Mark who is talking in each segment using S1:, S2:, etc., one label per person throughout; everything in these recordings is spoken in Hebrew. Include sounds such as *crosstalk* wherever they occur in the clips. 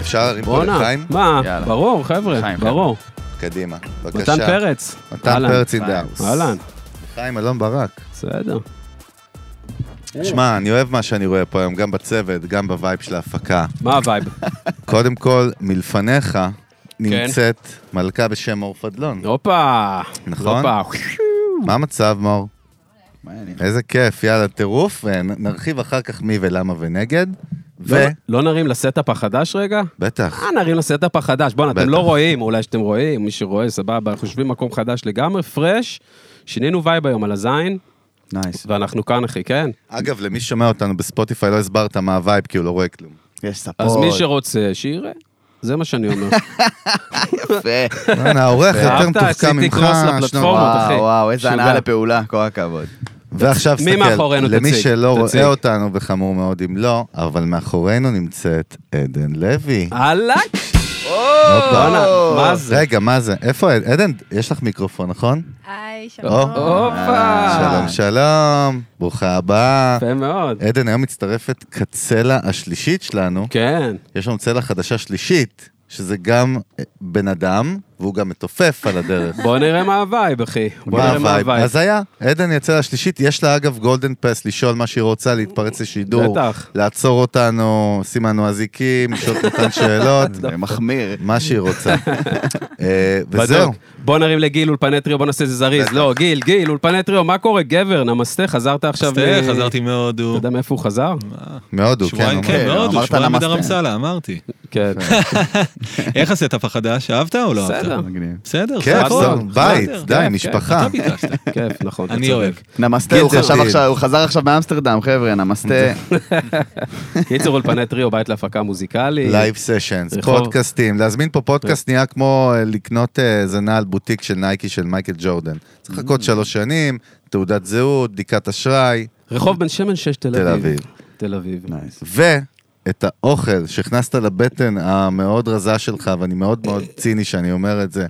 S1: אפשר למחוא
S2: בואנה,
S1: לחיים?
S2: מה,
S3: יאללה.
S2: ברור, חבר'ה,
S3: חיים, חבר'ה.
S2: ברור.
S1: קדימה, בבקשה.
S2: מתן פרץ.
S1: מתן
S2: אהלן.
S1: פרץ
S3: חיים.
S1: אינדאוס.
S2: אהלן,
S1: חיים אלון ברק.
S2: בסדר.
S1: שמע, אני אוהב מה שאני רואה פה היום, גם בצוות, גם בווייב של ההפקה. *laughs*
S2: מה הווייב?
S1: קודם כל, מלפניך נמצאת מלכה בשם אור פדלון.
S2: הופה.
S1: נכון.
S2: הופה.
S1: מה המצב, מור?
S3: מעניין.
S1: איזה כיף, יאללה, טירוף, ונרחיב אחר כך מי ולמה ונגד. ו...
S2: לא- לא נרים לסטאפ החדש רגע?
S1: בטח.
S2: אה, נרים לסטאפ החדש. בואנה, אתם
S1: בטח.
S2: לא רואים, אולי שאתם רואים, מי שרואה, סבבה, אנחנו יושבים במקום חדש לגמרי, פרש. שינינו וייב היום על הזין,
S3: נייס.
S2: ואנחנו כאן, אחי, כן?
S1: אגב, למי ששומע אותנו בספוטיפיי, לא הסברת מה הווייב, כי הוא לא רואה כלום. *laughs*
S3: יש ספורט.
S2: אז מי שרוצה, שיראה. זה מה שאני
S1: *laughs*
S2: אומר. *laughs*
S3: יפה.
S1: אהלן, אוקיי. העורך יותר
S2: אהבת?
S1: מתוחכם
S2: עשיתי
S1: ממך,
S2: קרוס
S1: שלום.
S2: לפלטפורמות. אחי.
S3: וואו, וואו, איזה
S2: שוגע.
S3: הנאה לפעולה, כל
S2: *laughs*
S3: הכבוד.
S1: ועכשיו,
S2: מי
S1: סתכל,
S2: מאחורינו?
S1: למי
S2: תציג,
S1: שלא
S2: תציג.
S1: רואה אותנו, וחמור מאוד אם לא, אבל מאחורינו נמצאת עדן לוי.
S2: הלאה,
S1: הופה.
S2: אה, בואנה, מה זה?
S1: רגע, מה זה? איפה עד- עדן? יש לך מיקרופון, נכון?
S4: היי, שלום.
S2: אה. הופה.
S1: אה, שלום, אה. שלום, ברוכה הבאה.
S2: יפה מאוד.
S1: עדן היום מצטרפת כצלע השלישית שלנו.
S2: כן.
S1: יש לנו צלע חדשה שלישית, שזה גם אה, בן אדם, והוא גם מתופף על הדרך.
S2: בוא נראה מה הווייב, אחי. בוא
S1: מה
S2: נראה מה
S1: הווייב?
S2: הווייב.
S1: אז היה, עדן היא הצלע השלישית, יש לה אגב גולדן פס לשאול מה שהיא רוצה, להתפרץ לשידור,
S2: בטח.
S1: לעצור אותנו, שים לנו אזיקים, לשאול אותן שאלות,
S3: זה
S2: *laughs*
S3: מחמיר.
S1: מה שהיא רוצה. אה, וזהו,
S2: בדיוק. בוא נרים לגיל אולפני טריו, בוא נעשה את זה זריז. לא, גיל, גיל, אולפני טריו, מה קורה? גבר, נמסטה, חזרת עכשיו... אה,
S5: מצטער,
S2: מ-
S5: חזרתי
S2: אתה
S5: מהודו.
S2: יודע מאיפה הוא חזר?
S1: מהודו, כן,
S5: שבועיים
S1: הוא
S5: כן,
S1: אומר.
S3: אמרת
S5: מהודו, שבועיים
S3: נמסטה.
S5: בדרמסלה, אמרתי.
S2: כן.
S5: איך הסטאפ החדש? אהבת או לא
S2: בסדר.
S5: אהבת?
S3: מגניב.
S5: בסדר,
S1: כיף,
S5: הכל.
S1: זה כן, בית,
S5: בסדר,
S1: די,
S5: כיף,
S1: משפחה.
S5: כיף, אתה ביקשת.
S2: כיף, נכון. אתה
S5: אני
S2: צודק.
S5: אוהב.
S2: כן,
S3: נמסטה, הוא
S1: גיל
S3: חשב
S1: דוד.
S3: עכשיו, הוא חזר עכשיו מאמסטרדם, חבר'ה, *laughs* נמסטה.
S2: קיצור, אולפני טריו, בית להפקה מוזיקלית.
S1: לייב סשנס,
S2: רחוב.
S1: פודקאסטים, להזמין פה פודקאסט נהיה כמו אה, לקנות אה, איזה נעל בוטיק של נייקי של מייקל ג'ורדן. צריך לחכות שלוש שנים, תעודת זהות, בדיקת אשראי,
S2: רחוב בן שמן 6,
S1: תל
S2: תל
S1: אביב.
S2: אביב. תל אביב.
S1: ואת האוכל שהכנסת לבטן המאוד רזה שלך, ואני מאוד מאוד ציני שאני אומר את
S2: *laughs*
S1: זה,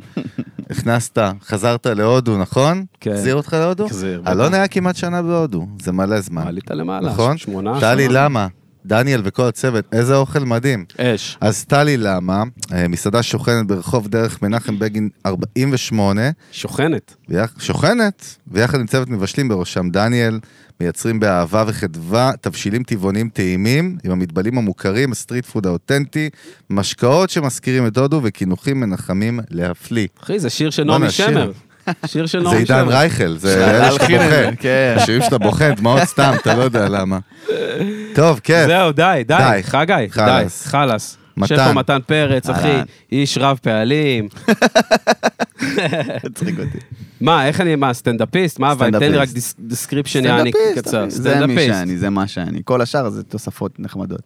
S1: הכנסת, חזרת להודו, נכון?
S2: כן.
S1: החזיר אותך להודו?
S2: החזיר, בטח.
S1: אלון היה כמעט שנה בהודו, זה מלא זמן.
S2: עלית למעלה,
S1: נכון?
S2: שמונה.
S1: טלי,
S2: שמונה.
S1: למה? דניאל וכל הצוות, איזה אוכל מדהים.
S2: אש.
S1: אז טלי למה, אה, מסעדה שוכנת ברחוב דרך מנחם בגין 48,
S2: שוכנת.
S1: ביח- שוכנת, ויחד עם צוות מבשלים בראשם דניאל, מייצרים באהבה וחדווה תבשילים טבעוניים טעימים, עם המתבלים המוכרים, הסטריט פוד האותנטי, משקאות שמזכירים את הודו וקינוחים מנחמים להפליא.
S2: אחי, זה שיר של
S1: בואנה,
S2: נעמי
S1: שיר.
S2: שמר. שיר של
S1: זה
S2: נעמי שמר.
S1: עידן רייכל, זה
S3: *laughs*
S1: אלה שאתה
S3: הלחין לא, את זה,
S1: בוחן.
S3: כן.
S1: השירים שאתה בוחן, דמעות סתם, אתה לא יודע למה. טוב, כיף.
S2: זהו, די,
S1: די.
S2: די, חגי, די,
S1: חלאס.
S2: חלאס. יושב
S1: מתן.
S2: פה מתן פרץ, אחי,
S3: אהלן.
S2: איש רב פעלים.
S3: מצחיק
S2: *laughs*
S3: אותי.
S2: מה, איך אני, מה, סטנדאפיסט? מה, אבל תן לי רק
S3: סטנדאפיסט.
S2: דיס- דיסקריפשן יעני קצר.
S3: זה מי שאני, זה מה שאני. כל השאר זה תוספות נחמדות.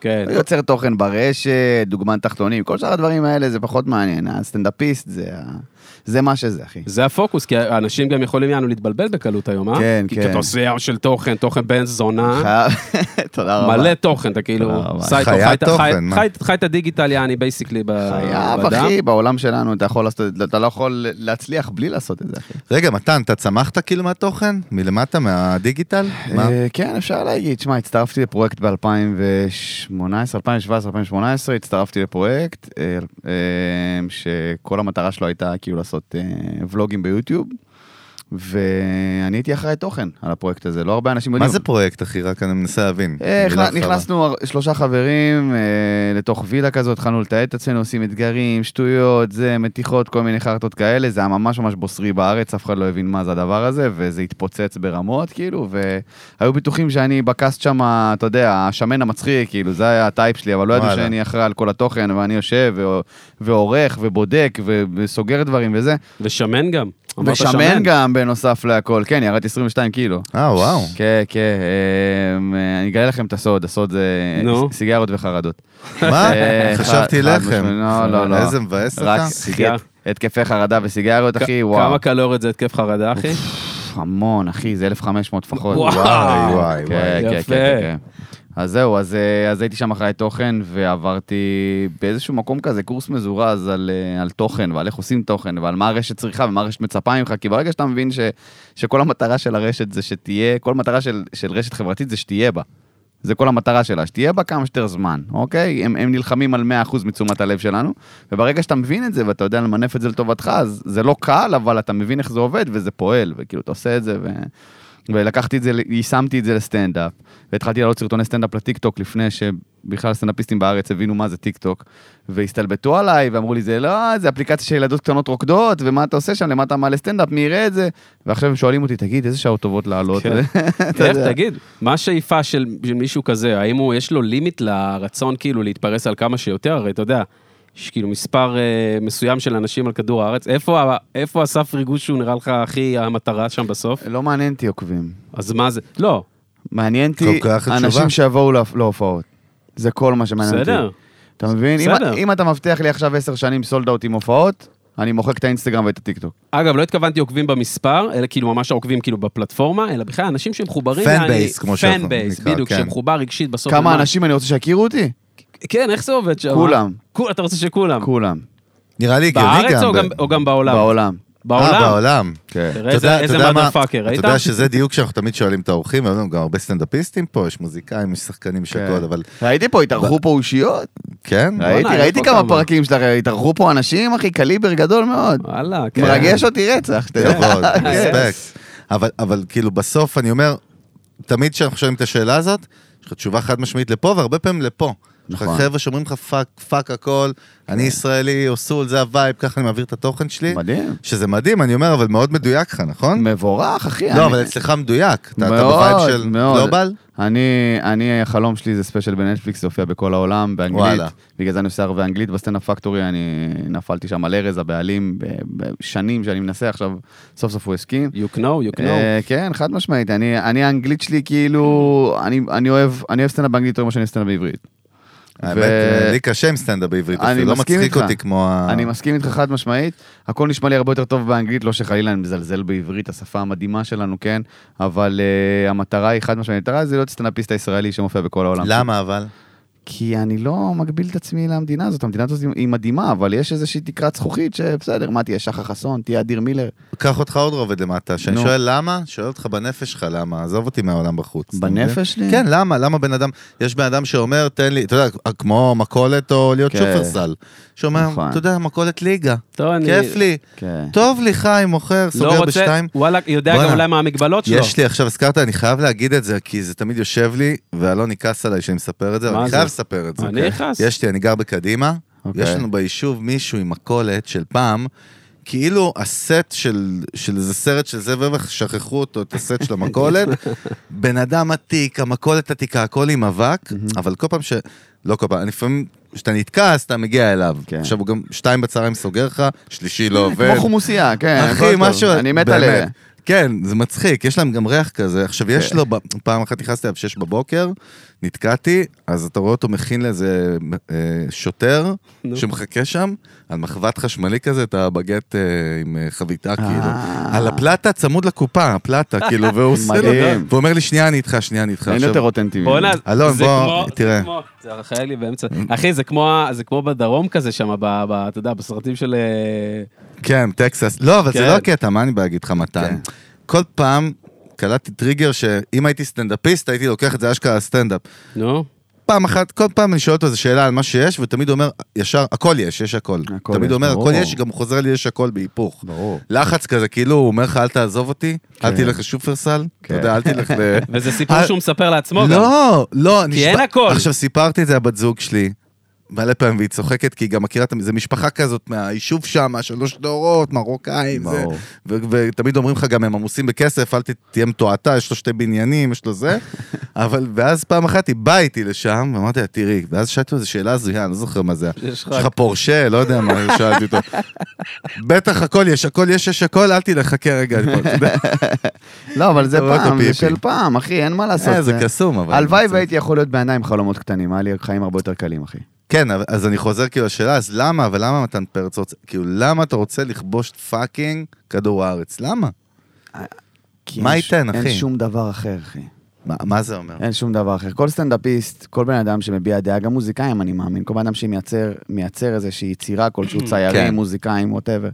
S2: כן.
S3: יוצר תוכן ברשת, דוגמן תחתונים, כל שאר הדברים האלה זה פחות מעניין. הסטנדאפיסט זה ה- זה מה שזה, אחי.
S2: זה הפוקוס, כי האנשים גם יכולים יענו להתבלבל בקלות היום, אה?
S3: כן,
S2: כי
S3: כן.
S2: אתה עושה ים של תוכן, תוכן בן זונה,
S3: חייב- *laughs* תודה רבה.
S2: מלא תוכן, אתה כאילו,
S3: תודה רבה.
S2: עשה איתו,
S1: חיית
S2: חי את-
S1: תוכן,
S2: חי-
S1: מה?
S2: חי- חי את הדיגיטל יעני בייסיקלי
S3: חייב,
S2: באדם.
S3: אחי, בעולם שלנו אתה יכול לעשות, אתה לא יכול להצליח בלי לעשות את זה, אחי.
S1: רגע, מתן, אתה צמחת כאילו מהתוכן? מלמטה, מהדיגיטל? מה?
S3: אה, כן, אפשר להגיד. שמע, הצטרפתי לפרויקט ב-2018, 2017-2018, הצטרפתי לפרויקט אה, אה, שכל המטרה שלו הייתה כאילו לעשות אה, ולוגים ביוטיוב, ואני הייתי אחראי תוכן על הפרויקט הזה, לא הרבה אנשים יודעים.
S1: מה זה פרויקט, אחי? רק אני מנסה להבין.
S3: אה,
S1: מילה
S3: נכנס-
S1: אחרונה.
S3: נכנסנו הר- שלושה חברים אה, לתוך וילה כזאת, התחלנו לתעד את עצמנו, עושים אתגרים, שטויות, זה, מתיחות, כל מיני חרטות כאלה, זה היה ממש ממש בוסרי בארץ, אף אחד לא הבין מה זה הדבר הזה, וזה התפוצץ ברמות, כאילו, והיו בטוחים שאני בקאסט שם, אתה יודע, השמן המצחיק, כאילו, זה היה הטייפ שלי, אבל לא ידעו
S1: וואלה.
S3: שאני אחראי על כל התוכן, ואני יושב ו- ועורך ובודק ו- וסוגר דברים וזה,
S2: ושמן גם. אמרת
S3: ושמן גם בנוסף להכל, כן, ירדתי 22 קילו.
S1: אה, וואו.
S3: כן, כן, אמ, אני אגלה לכם את הסוד, הסוד זה
S2: נו.
S3: ס- סיגריות וחרדות.
S1: מה?
S3: אה,
S1: חשבתי
S3: חד- חד
S1: לחם.
S3: משמעית, לא, לא, לא.
S1: איזה מבאס
S3: רק
S1: אתה.
S2: סיגר.
S3: התק- התקפי חרדה וסיגריות, אחי, וואו.
S2: כמה קלוריות זה התקף חרדה, אחי?
S3: פff, המון, אחי, זה 1,500 לפחות.
S2: וואו.
S1: וואי, וואי,
S3: כן,
S1: וואי.
S3: כן,
S2: יפה.
S3: כן, כן. אז זהו, אז אה, אז הייתי שם אחראי תוכן, ועברתי באיזשהו מקום כזה קורס מזורז על אה, על תוכן, ועל איך עושים תוכן, ועל מה הרשת צריכה ומה הרשת מצפה ממך, כי ברגע שאתה מבין ש- שכל המטרה של הרשת זה שתהיה, כל מטרה של של רשת חברתית זה שתהיה בה. זה כל המטרה שלה, שתהיה בה כמה שיותר זמן, אוקיי? הם, הם נלחמים על 100% מתשומת הלב שלנו, וברגע שאתה מבין את זה ואתה יודע למנף את זה לטובתך, אז זה לא קל, אבל אתה מבין איך זה עובד וזה פועל, וכאילו אתה עושה את זה ו... ולקחתי את זה, יישמתי את זה לסטנדאפ, והתחלתי לעלות סרטוני סטנדאפ לטיקטוק לפני שבכלל סטנדאפיסטים בארץ הבינו מה זה טיקטוק, והסתלבטו עליי ואמרו לי, זה לא, זה אפליקציה של ילדות קטנות רוקדות, ומה אתה עושה שם, למה אתה מעלה סטנדאפ, מי יראה את זה? ועכשיו הם שואלים אותי, תגיד, איזה שעות טובות לעלות?
S2: כן.
S3: אתה
S2: איך
S3: יודע.
S2: תגיד, מה השאיפה של של מישהו כזה, האם הוא, יש לו לימיט לרצון כאילו להתפרס על כמה שיותר? הרי אתה יודע, יש כאילו מספר אה, מסוים של אנשים על כדור הארץ, איפה ה- איפה הסף ריגוש שהוא נראה לך הכי המטרה שם בסוף?
S3: *laughs* לא מעניין אותי עוקבים.
S2: אז מה זה, לא,
S3: מעניין אותי
S1: כל כך התשובה.
S3: אנשים שיבואו להופ- להופעות. זה כל מה שמעניין אותי.
S2: בסדר.
S3: אתה מבין? אם-
S2: בסדר.
S3: אם אתה מבטיח לי עכשיו עשר שנים סולד אאוט עם הופעות, אני מוחק את האינסטגרם ואת הטיקטוק.
S2: אגב, לא התכוונתי עוקבים במספר, אלא כאילו ממש העוקבים כאילו בפלטפורמה, אלא בכלל אנשים שמחוברים...
S1: Fan base, כמו שאנחנו
S2: פן בייס,
S1: נקרא,
S2: בדיוק,
S1: כן.
S2: שמחובר רגשית בסוף.
S3: כמה
S2: למה-
S3: אנשים אני רוצה שיכירו אותי?
S2: כן, איך זה עובד שם?
S3: כולם.
S2: כול- אתה רוצה שכולם.
S3: כולם.
S1: נראה לי הגיוני
S2: בארץ או
S1: ב-
S2: גם- או גם בעולם?
S3: בעולם.
S1: אה,
S2: בעולם.
S1: בעולם.
S3: כן.
S2: תראה איזה- איזה motherfucker, ראית?
S1: אתה יודע שזה דיוק שאנחנו תמיד שואלים את האורחים, אבל גם הרבה סטנדאפיסטים פה, יש מוזיקאים, יש שחקנים, יש
S3: כן.
S1: הכל, אבל
S3: ראיתי פה, התארחו פה אושיות.
S1: כן,
S3: ראיתי,
S2: היה
S3: ראיתי
S2: פה
S3: כמה
S2: כמה.
S3: פרקים שלך, התארחו פה אנשים, אחי, קליבר גדול מאוד.
S2: וואלה, כן.
S3: מרגש אותי רצח, אתה יודע. *laughs*
S1: כבוד, רספקט. אבל- אבל כאילו בסוף אני אומר, תמיד כשאנחנו שואלים את השאלה הזאת, יש לך תשובה חד משמעית לפה, והרבה פעמים לפה. יש לך
S3: נכון. כן.
S1: חבר'ה שאומרים לך פאק, פאק הכל, אני ישראלי, אוסול, זה הווייב, ככה אני מעביר את התוכן שלי.
S3: מדהים.
S1: שזה מדהים, אני אומר, אבל מאוד מדויק לך, נכון?
S3: מבורך, אחי.
S1: לא,
S3: אני-
S1: אבל אצלך מדויק. אתה- אתה
S3: מאוד,
S1: בווייב של
S3: מאוד.
S1: גלובל?
S3: אני, אני, החלום שלי זה ספיישל בנטפליקס, זה הופיע בכל העולם, באנגלית.
S1: וואלה.
S3: וואלה. בגלל זה אני עושה הרבה אנגלית. בסטנדאפ פקטורי אני נפלתי שם על ארז, הבעלים, ב- בשנים שאני מנסה, עכשיו סוף סוף הוא הסכים.
S2: You know, you know.
S3: אה, כן, חד משמעית. אני, אני, האנגלית שלי כאילו, אני, אני אוהב, אני אוהב סטנדאפ באנגלית יותר ממה שאני אוהב סטנדאפ בעברית.
S1: האמת, אה, לי קשה עם סטנדאפ בעברית,
S3: אני
S1: אפילו לא
S3: מסכים
S1: מצחיק
S3: איתך.
S1: אותי כמו ה...
S3: אני מסכים איתך חד משמעית, הכל נשמע לי הרבה יותר טוב באנגלית, לא שחלילה אני מזלזל בעברית, השפה המדהימה שלנו, כן? אבל uh, המטרה היא חד משמעית, המטרה זה להיות סטנדאפיסט הישראלי שמופיע בכל העולם.
S1: למה אבל?
S3: כי אני לא מגביל את עצמי למדינה הזאת, המדינה הזאת היא מדהימה, אבל יש איזושהי תקרת זכוכית שבסדר, מה תהיה, שחר חסון, תהיה אדיר מילר.
S1: קח אותך עוד רובד למטה. כשאני
S3: נו.
S1: שואל למה, שואל אותך בנפש שלך למה, עזוב אותי מהעולם בחוץ. אתה מבין?
S3: בנפש שלי?
S1: כן, למה? למה בן אדם, יש בן אדם שאומר, תן לי, אתה יודע, כמו מכולת או להיות
S3: כן.
S1: שופרסל. שאומר,
S3: נכון.
S1: אתה יודע, מכולת ליגה,
S2: טוב, אני-
S1: כיף לי,
S3: כן.
S1: טוב לי חיים, מוכר,
S2: לא
S1: סוגר
S2: רוצה-
S1: בשתיים.
S2: וואלה, יודע גם
S1: בואנה.
S2: אולי מה המגבלות שלו.
S1: יש לי עכשיו, הזכרת, אני חייב להגיד את זה, כי זה תמיד יושב לי, ואלון יכעס עליי שאני מספר את זה, אבל
S2: מה
S1: אני
S2: זה?
S1: חייב לספר את זה. אוקיי?
S2: אני נכנס.
S1: יש לי, אני גר בקדימה,
S3: אוקיי.
S1: יש לנו ביישוב מישהו עם מכולת של פעם, כאילו הסט של, של איזה סרט של זאב רווח, שכחו אותו, את הסט של
S2: *laughs*
S1: המכולת. בן אדם עתיק, המכולת עתיקה, הכל עם אבק, אבל כל פעם ש... לא כל פעם, לפעמים כשאתה נתקע, אז אתה מגיע אליו.
S3: כן.
S1: עכשיו הוא גם שתיים בצהריים סוגר לך, שלישי לא עובד.
S3: כמו חומוסייה, כן. הכל
S1: אחי,
S3: טוב.
S1: משהו...
S3: אני מת
S1: באמת.
S3: עליה.
S1: כן, זה מצחיק, יש להם גם ריח כזה. עכשיו, יש
S3: כן.
S1: לו, ב- פעם אחת נכנסתי אליו שש בבוקר, נתקעתי, אז אתה רואה אותו מכין לאיזה אה, שוטר
S2: נו.
S1: שמחכה שם, על מחבת חשמלי כזה, את הבגט אה, עם אה, חביתה, כאילו.
S3: אה.
S1: על הפלטה, צמוד לקופה, הפלטה, כאילו,
S3: *laughs*
S1: והוא עושה לו,
S3: מדהים.
S1: והוא אומר לי, שנייה, אני איתך, שנייה, אני איתך.
S3: אין
S1: עכשיו,
S3: יותר אותנטי. ממנו.
S2: בואנה,
S1: אלון,
S2: זה
S1: בוא,
S2: כמו-
S1: תראה.
S2: זה כמו- זה הרחק לי באמצע. אחי, זה כמו ה- זה כמו בדרום כזה שם, ב- ב- אתה יודע, בסרטים של... אה,
S1: כן, טקסס. לא, אבל זה
S2: כן.
S1: לא הקטע, מה אני בא להגיד לך מתי?
S3: כן.
S1: כל פעם קלטתי טריגר שאם הייתי סטנדאפיסט, הייתי לוקח את זה אשכרה סטנדאפ.
S2: נו,
S1: פעם אחת, כל פעם אני שואל אותו איזה שאלה על מה שיש, ותמיד הוא אומר, ישר, הכל יש, יש הכל.
S3: הכל
S1: תמיד
S3: יש,
S1: אומר,
S3: ברור.
S1: הכל יש, גם הוא חוזר לי, יש הכל בהיפוך.
S3: ברור.
S1: לחץ כזה, כאילו, הוא אומר לך, אל תעזוב אותי, אל
S3: כן.
S1: תלך לשופרסל, אתה
S3: כן.
S1: יודע, אל תלך ל...
S2: *laughs* וזה סיפור
S1: אה,
S2: שהוא מספר לעצמו גם.
S1: לא, לא,
S2: כי אין הכל.
S1: עכשיו, סיפרתי את זה לבת זוג שלי, מלא פעמים, והיא צוחקת, כי היא גם מכירה, את המ- זה משפחה כזאת מהיישוב שם, שלוש דורות, מרוקאים, זה...
S3: ברור.
S1: ו- ותמיד אומרים לך גם הם עמוסים בכסף, אל ת- תהיה מתועתע, יש לו שתי בניינים, יש לו זה. אבל, ואז פעם אחת היא באה איתי לשם, ואמרתי לה, תראי, ואז שאלתי איזו שאלה הזויה, אני לא זוכר מה זה היה.
S2: יש
S1: יש
S2: לך-
S1: לך פורשה, לא יודע מה, שאלתי
S2: *laughs*
S1: אותו. בטח הכל יש, הכל יש, יש הכל, אל תלך, חכה רגע. אני פה, אתה יודע,
S3: לא, אבל זה
S1: אתה רואה אותו
S3: פעם, זה
S1: פיפי.
S3: של פעם, אחי, אין מה לעשות.
S1: אה, זה קסום, אבל...
S3: הלוואי והייתי יכול להיות בעיניים עם חלומות קטנים, היה לי חיים הרבה יותר קלים, אחי.
S1: כן, אבל- אז אני חוזר כאילו לשאלה, אז למה, ולמה מתן פרץ רוצה, כאילו, למה אתה רוצה לכבוש פאקינג כדור הארץ? למה?
S3: כי
S1: מה
S3: אין ש-
S1: ייתן, אחי?
S3: אין שום דבר אחר, אחי.
S1: מה- מה זה אומר?
S3: אין שום דבר אחר. כל סטנדאפיסט, כל בן אדם שמביע דעה, גם מוזיקאים, אני מאמין, כל בן אדם שמייצר מייצר איזושהי יצירה כלשהו, ציירים,
S1: כן.
S3: מוזיקאים, ווטאבר,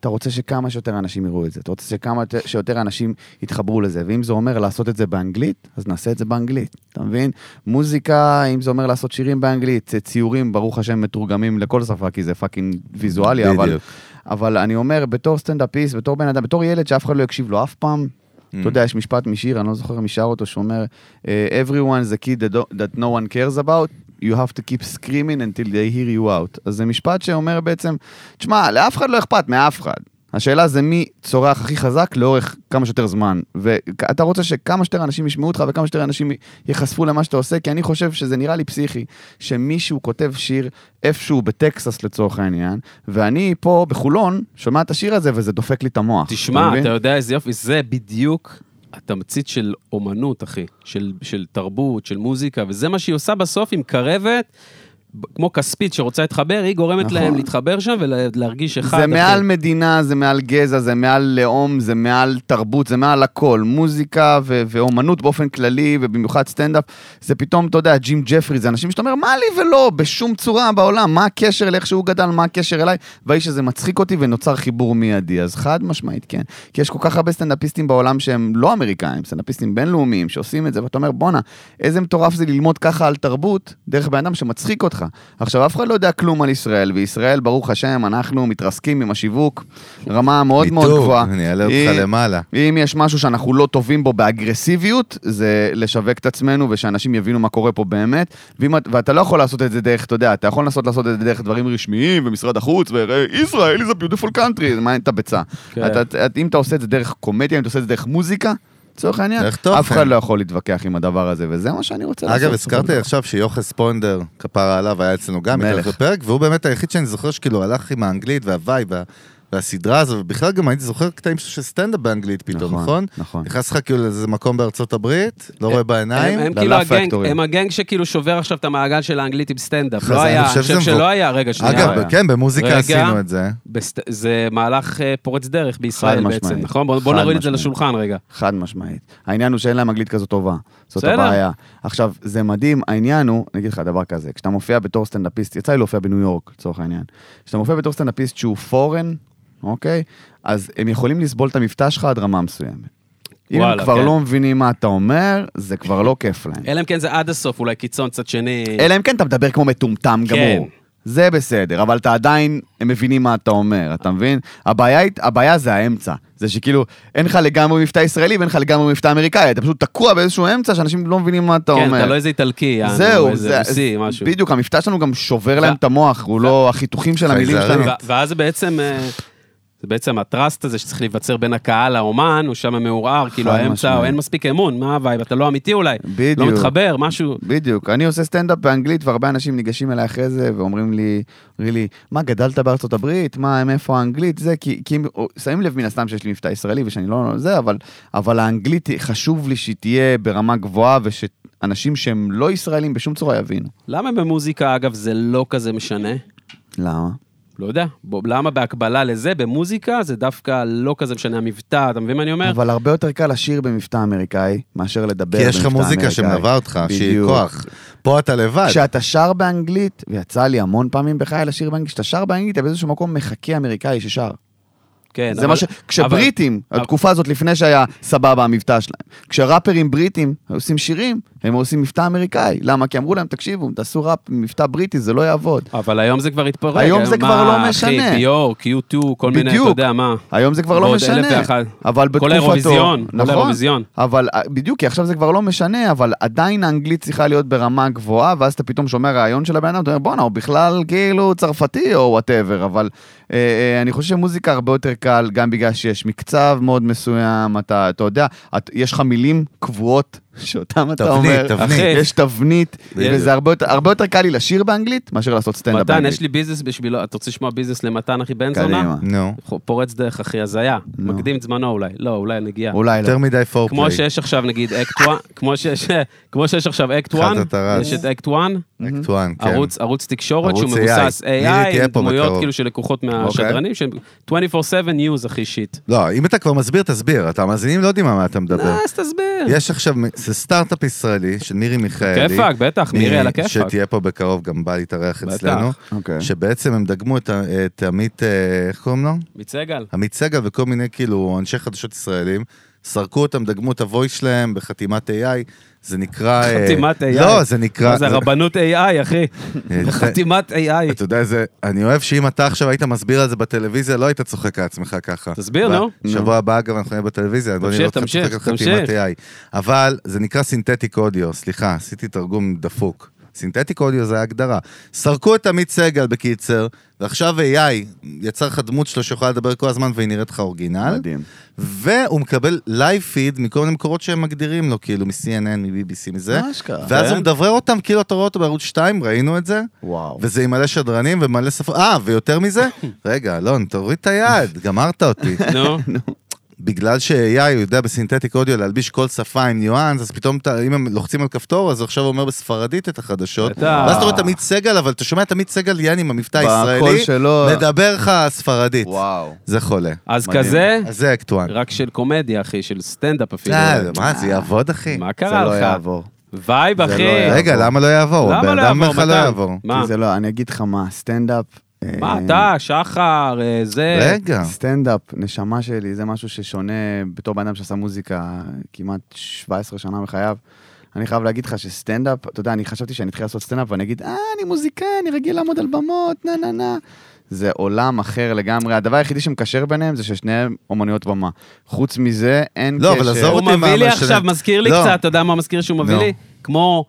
S3: אתה רוצה שכמה שיותר אנשים יראו את זה, אתה רוצה שכמה יותר- שיותר אנשים יתחברו לזה, ואם זה אומר לעשות את זה באנגלית, אז נעשה את זה באנגלית, אתה מבין? מוזיקה, אם זה אומר לעשות שירים באנגלית, ציורים, ברוך השם, מתורגמים לכל שפה, כי זה פאקינג ויזואלי, אבל...
S1: בדיוק.
S3: אבל אני אומר, בתור סטנדאפיסט, בתור בן אדם, בתור ילד שאף אחד לא יקשיב לו אף פעם, אתה יודע, יש משפט משיר, אני לא זוכר מי שר אותו, שאומר, "Eh, everyone is a kid that don't- that no one cares about, you have to keep screaming until they hear you out. אז זה משפט שאומר בעצם, תשמע, לאף אחד לא אכפת, מאף אחד. השאלה זה מי צורח הכי חזק לאורך כמה שיותר זמן. ואתה רוצה שכמה שיותר אנשים ישמעו אותך וכמה שיותר אנשים ייחשפו למה שאתה עושה, כי אני חושב שזה נראה לי פסיכי, שמישהו כותב שיר איפשהו בטקסס לצורך העניין, ואני פה בחולון שומע את השיר הזה וזה דופק לי את המוח.
S2: תשמע,
S3: מבין?
S2: אתה יודע איזה יופי, זה בדיוק התמצית של אומנות, אחי. של, של תרבות, של מוזיקה, וזה מה שהיא עושה בסוף, היא מקרבת, ב- כמו כספית שרוצה להתחבר, היא גורמת
S3: נכון.
S2: להם להתחבר שם ולהרגיש אחד.
S3: זה
S2: אחי.
S3: מעל מדינה, זה מעל גזע, זה מעל לאום, זה מעל תרבות, זה מעל הכל. מוזיקה ו- ואומנות באופן כללי, ובמיוחד סטנדאפ, זה פתאום, אתה יודע, ג'ים ג'פרי, זה אנשים שאתה אומר, מה לי ולא, בשום צורה בעולם, מה הקשר לאיך שהוא גדל, מה הקשר אליי, והאיש הזה מצחיק אותי ונוצר חיבור מיידי. אז חד משמעית, כן. כי יש כל כך הרבה סטנדאפיסטים בעולם שהם לא אמריקאים, סטנדאפיסטים בינלאומיים שעושים את זה, ואתה אומר, בואנה, איזה מטורף זה ללמוד ככה על תרבות דרך בן אדם שמצחיק אותך. עכשיו, אף אחד לא יודע כלום על ישראל, וישראל, ברוך השם, אנחנו מתרסקים עם השיווק, רמה מאוד מאוד
S1: מיתוג,
S3: גבוהה.
S1: אני אעלה אותך
S3: היא-
S1: למעלה.
S3: אם יש משהו שאנחנו לא טובים בו באגרסיביות, זה לשווק את עצמנו ושאנשים יבינו מה קורה פה באמת. ואם, את- ואתה לא יכול לעשות את זה דרך, אתה יודע, אתה יכול לנסות לעשות את זה דרך דברים רשמיים ומשרד החוץ, וישראל is a beautiful country, זה מעניין את הביצה.
S2: כן.
S3: אתה- אתה- אם אתה עושה את זה דרך קומדיה, אם אתה עושה את זה דרך מוזיקה, לצורך העניין,
S1: דרך תוכן.
S3: אף אחד לא יכול להתווכח עם הדבר הזה, וזה מה שאני רוצה לעשות.
S1: אגב, הזכרתי לי עכשיו שיוחס פונדר, כפרה עליו, היה אצלנו גם,
S3: מלך.
S1: איתנו בפרק, והוא באמת היחיד שאני זוכר שכאילו הלך עם האנגלית והוואי וה- והסדרה הזו, ובכלל גם הייתי זוכר קטעים שלו של סטנדאפ באנגלית פתאום, נכון?
S3: נכון.
S1: נכנס לך כאילו לאיזה מקום בארצות הברית, לא רואה
S2: הם,
S1: בעיניים.
S2: הם כאילו
S3: ללאף
S2: הגנג,
S3: פקטורי.
S2: הם הגנג שכאילו שובר עכשיו את המעגל של האנגלית עם סטנדאפ. לא
S1: חזן,
S2: היה,
S1: אני
S2: אני
S1: חושב
S2: חושב
S1: שזה
S2: שלא
S1: מבוא-
S2: היה, רגע, שנייה.
S1: אגב, כן, במוזיקה
S2: רגע.
S1: עשינו את זה.
S2: בסט... זה מהלך אה, פורץ דרך בישראל
S3: משמעית.
S2: בעצם, נכון? בוא, בוא
S3: חד
S2: נוריד את זה
S3: משמעית.
S2: לשולחן רגע.
S3: חד משמעית. העניין הוא שאין להם אנגלית כזו טובה. זאת
S2: בסדר.
S3: הבעיה. עכשיו, זה מדהים, העניין הוא, אני אגיד לך דבר כזה, כשאתה מופיע בתור סטנדאפיסט, יצא לי להופיע בניו יורק, לצורך העניין. כשאתה מופיע בתור סטנדאפיסט שהוא פורן, אוקיי? אז הם יכולים לסבול את המבטא שלך עד רמה מסוימת. אם הם
S2: וואלה,
S3: כבר
S2: כן.
S3: לא מבינים מה אתה אומר, זה כבר לא כיף להם.
S2: אלא אם כן זה עד הסוף, אולי קיצון צד שני.
S3: אלא אם כן אתה מדבר כמו מטומטם
S2: כן.
S3: גמור. זה בסדר, אבל אתה עדיין, הם מבינים מה אתה אומר, אתה מבין? הבעיה, היא- הבעיה זה האמצע. זה שכאילו, אין לך לגמרי מבטא ישראלי ואין לך לגמרי מבטא אמריקאי, אתה פשוט תקוע באיזשהו אמצע שאנשים לא מבינים מה אתה
S2: כן,
S3: אומר.
S2: אתה לא איזה איטלקי, יענו,
S3: זהו,
S2: איזה
S3: זה-
S2: רוסי, משהו.
S3: בדיוק, המבטא שלנו גם שובר
S2: ו-
S3: להם את המוח, הוא לא, החיתוכים של המילים
S1: חייזרים.
S3: שלנו.
S1: באמת.
S2: ו- ואז זה בעצם, אה, זה בעצם הטראסט הזה שצריך להיווצר בין הקהל לאומן, הוא שם מעורער, כאילו
S3: חד
S2: האמצע,
S3: משמעית.
S2: או אין מספיק אמון, מה הווייב, אתה לא אמיתי אולי, לא
S3: בדיוק.
S2: מתחבר, משהו.
S3: בדיוק. אני עושה סטנדאפ באנגלית, והרבה אנשים ניגשים אליי אחרי זה ואומרים לי, אומרים לי, מה, גדלת בארצות הברית? מה, מאיפה האנגלית? זה, כי, כי הם או- שמים לב מן הסתם שיש לי מבטא ישראלי ושאני לא... זה, אבל, אבל האנגלית, היא- חשוב לי שהיא תהיה ברמה גבוהה ושאנשים שהם לא ישראלים בשום צורה יבינו.
S2: למה במוזיקה, אגב, זה לא כזה משנה?
S3: למה?
S2: לא יודע. בוא, למה בהקבלה לזה, במוזיקה, זה דווקא לא כזה משנה המבטא, אתה מבין מה אני אומר?
S3: אבל הרבה יותר קל לשיר במבטא אמריקאי מאשר לדבר
S1: כי
S3: במבטא
S1: יש לך
S3: אמריקאי.
S1: מוזיקה שמלווה אותך, שהיא
S3: בדיוק.
S1: כוח. פה אתה לבד.
S3: כשאתה שר באנגלית, ויצא לי המון פעמים בחיי לשיר באנגלית, כשאתה שר באנגלית, אתה באיזשהו מקום מחכה אמריקאי ששר.
S2: כן,
S3: זה
S2: אבל-
S3: מה ש... כשבריטים,
S2: אבל-
S3: התקופה הזאת לפני שהיה סבבה המבטא שלהם, כשראפרים בריטים עושים שירים, הם עושים מבטא אמריקאי. למה? כי אמרו להם, תקשיבו, תעשו ראפ עם מבטא בריטי, זה לא יעבוד.
S2: אבל היום זה כבר התפרק.
S3: היום זה כבר
S2: מה,
S3: לא
S2: אחי,
S3: משנה.
S2: ביורק, U2, כל מיני, אתה
S3: בדיוק.
S2: יודע מה.
S3: היום זה כבר לא
S2: ועוד אלף
S3: משנה,
S2: ואחת.
S3: אבל בתקופתו,
S2: כל האירוויזיון, כל
S3: נכון,
S2: האירוויזיון.
S3: אבל אה, בדיוק, כי עכשיו זה כבר לא משנה, אבל עדיין האנגלית צריכה להיות ברמה גבוהה, ואז אתה פתאום שומע רעיון של הבן אדם, אתה אומר, בואנה, הוא בכלל כאילו צרפתי או וואטאבר, אבל אה, אה, אני חושב שמוזיקה הרבה יותר קל, גם בגלל שיש מקצב מאוד מסוים, אתה, אתה יודע, את, יש לך מילים קבועות שאותם אתה
S1: תבנית,
S3: אומר.
S1: תבנית.
S2: אחי,
S3: יש תבנית,
S1: בדיוק.
S3: וזה הרבה יותר, הרבה יותר קל לי לשיר באנגלית מאשר לעשות סטנדאפ
S2: מתן,
S3: באנגלית.
S2: יש לי ביזנס בשבילו, אתה רוצה לשמוע ביזנס למתן, אחי, בן
S3: קדימה.
S2: זונה?
S1: נו,
S2: פורץ דרך, אחי, הזיה.
S3: נו.
S2: מקדים את זמנו אולי. לא, אולי נגיע.
S3: אולי לא.
S1: יותר מדי פורפליי.
S2: כמו שיש עכשיו, נגיד, אקט 1, כמו שיש- כמו שיש עכשיו אקט 1,
S1: אחד אתה רץ.
S2: יש את אקט 1,
S1: אקט וואן, כן.
S2: ערוץ, ערוץ תקשורת שהוא
S1: ערוץ AI.
S2: מבוסס
S1: נילי
S2: AI,
S1: תהיה
S2: עם
S1: פה בקרוב. אוקיי.
S2: דמויות כאילו שלקוחות מהשדרנים, שהם 24/7 news, אחי, שיט. אה.
S1: לא, אם אתה כבר מסביר, תסביר. אתה המאזינים לא יודעים על מה אתה מדבר.
S2: אז תסביר.
S1: יש עכשיו, זה סטארט-אפ ישראלי של מירי מיכאלי.
S2: כיפאק, בטח, מירי על הכיפאק.
S1: שתהיה פה בקרוב, גם באה להתארח
S2: בטח.
S1: אצלנו.
S3: אוקיי.
S1: שבעצם הם דגמו את, ה- את עמית, אה, איך קוראים לו?
S2: עמית סגל.
S1: עמית סגל וכל מיני כאילו אנשי חדשות ישראלים, סרקו אותם, דגמו את הוויס שלהם בחתימת AI, זה נקרא... אה,
S2: חתימת AI.
S1: לא, זה נקרא...
S2: מה זה הרבנות AI, אחי?
S1: אה,
S2: חתימת AI.
S1: אתה יודע, זה, אני אוהב שאם אתה עכשיו היית מסביר על זה בטלוויזיה, לא היית צוחק על עצמך ככה.
S2: תסביר,
S1: ב-
S2: נו.
S1: שבוע הבא, אגב, אנחנו נהיה בטלוויזיה, בוא נראה אותך
S2: תמשיך,
S1: צוחק על
S2: תמשיך.
S1: חתימת AI. אבל זה נקרא סינתטיק אודיו, סליחה, עשיתי תרגום דפוק. סינתטיק אודיו זה ההגדרה. סרקו את עמית סגל, בקיצר, ועכשיו AI יצר לך דמות שלו שיכולה לדבר כל הזמן והיא נראית לך אורגינל.
S3: מדהים.
S1: והוא מקבל לייב פיד מכל מיני מקורות שהם מגדירים לו, כאילו מ-CNN, מ-BBC, מזה.
S3: מה אשכרה?
S1: ואז
S2: כן.
S1: הוא מדברר אותם, כאילו אתה רואה אותו בערוץ 2, ראינו את זה.
S3: וואו.
S1: וזה עם מלא שדרנים ומלא שפות, אה, ויותר
S2: *laughs*
S1: מזה? רגע, אלון, תוריד את היד, גמרת אותי. *laughs*
S2: נו,
S1: בגלל ש-AI הוא יודע בסינתטיק אודיו להלביש כל שפה עם ניואנס, אז פתאום אתה- אם הם לוחצים על כפתור, אז הוא עכשיו אומר בספרדית את החדשות.
S2: בטח.
S1: ואז אתה רואה את עמית סגל, אבל אתה שומע את עמית סגל יעני עם המבטא
S3: בקול
S1: הישראלי,
S3: שלו...
S1: מדבר לך ספרדית.
S3: וואו.
S1: זה חולה.
S2: אז
S3: מדהים.
S2: כזה,
S1: אז זה אקטואן.
S2: רק של קומדיה, אחי, של סטנדאפ אפילו.
S1: אה, מה, זה יעבוד, אחי?
S2: מה
S3: זה
S2: קרה
S3: לא
S2: לך?
S3: יעבור.
S2: וייב,
S3: זה
S2: אחי.
S3: לא יעבור.
S1: רגע, למה לא יעבור?
S2: למה
S1: הבן
S2: לא
S1: אדם
S2: יעבור,
S1: אומר לך לא
S2: מתן?
S1: יעבור.
S2: מה?
S3: כי זה לא, אני אגיד לך מה, סטנדאפ... אה,
S2: מה אתה, שחר, אה, זה...
S1: רגע.
S3: סטנדאפ, נשמה שלי, זה משהו ששונה בתור בן אדם שעשה מוזיקה כמעט 17 שנה מחייו. אני חייב להגיד לך שסטנדאפ, אתה יודע, אני חשבתי שאני אתחיל לעשות סטנדאפ ואני אגיד, אה, אני מוזיקאי, אני רגיל לעמוד על במות, נה נה נה. זה עולם אחר לגמרי. הדבר היחידי שמקשר ביניהם זה ששניהם אומנויות במה. חוץ מזה, אין
S1: לא,
S3: קשר.
S1: אבל עזוב
S2: הוא
S1: אותי מה
S2: מביא לי
S1: מה שזה-
S2: עכשיו, מזכיר לי
S1: לא.
S2: קצת, אתה יודע מה מזכיר שהוא מביא
S1: נו.
S2: לי? כמו...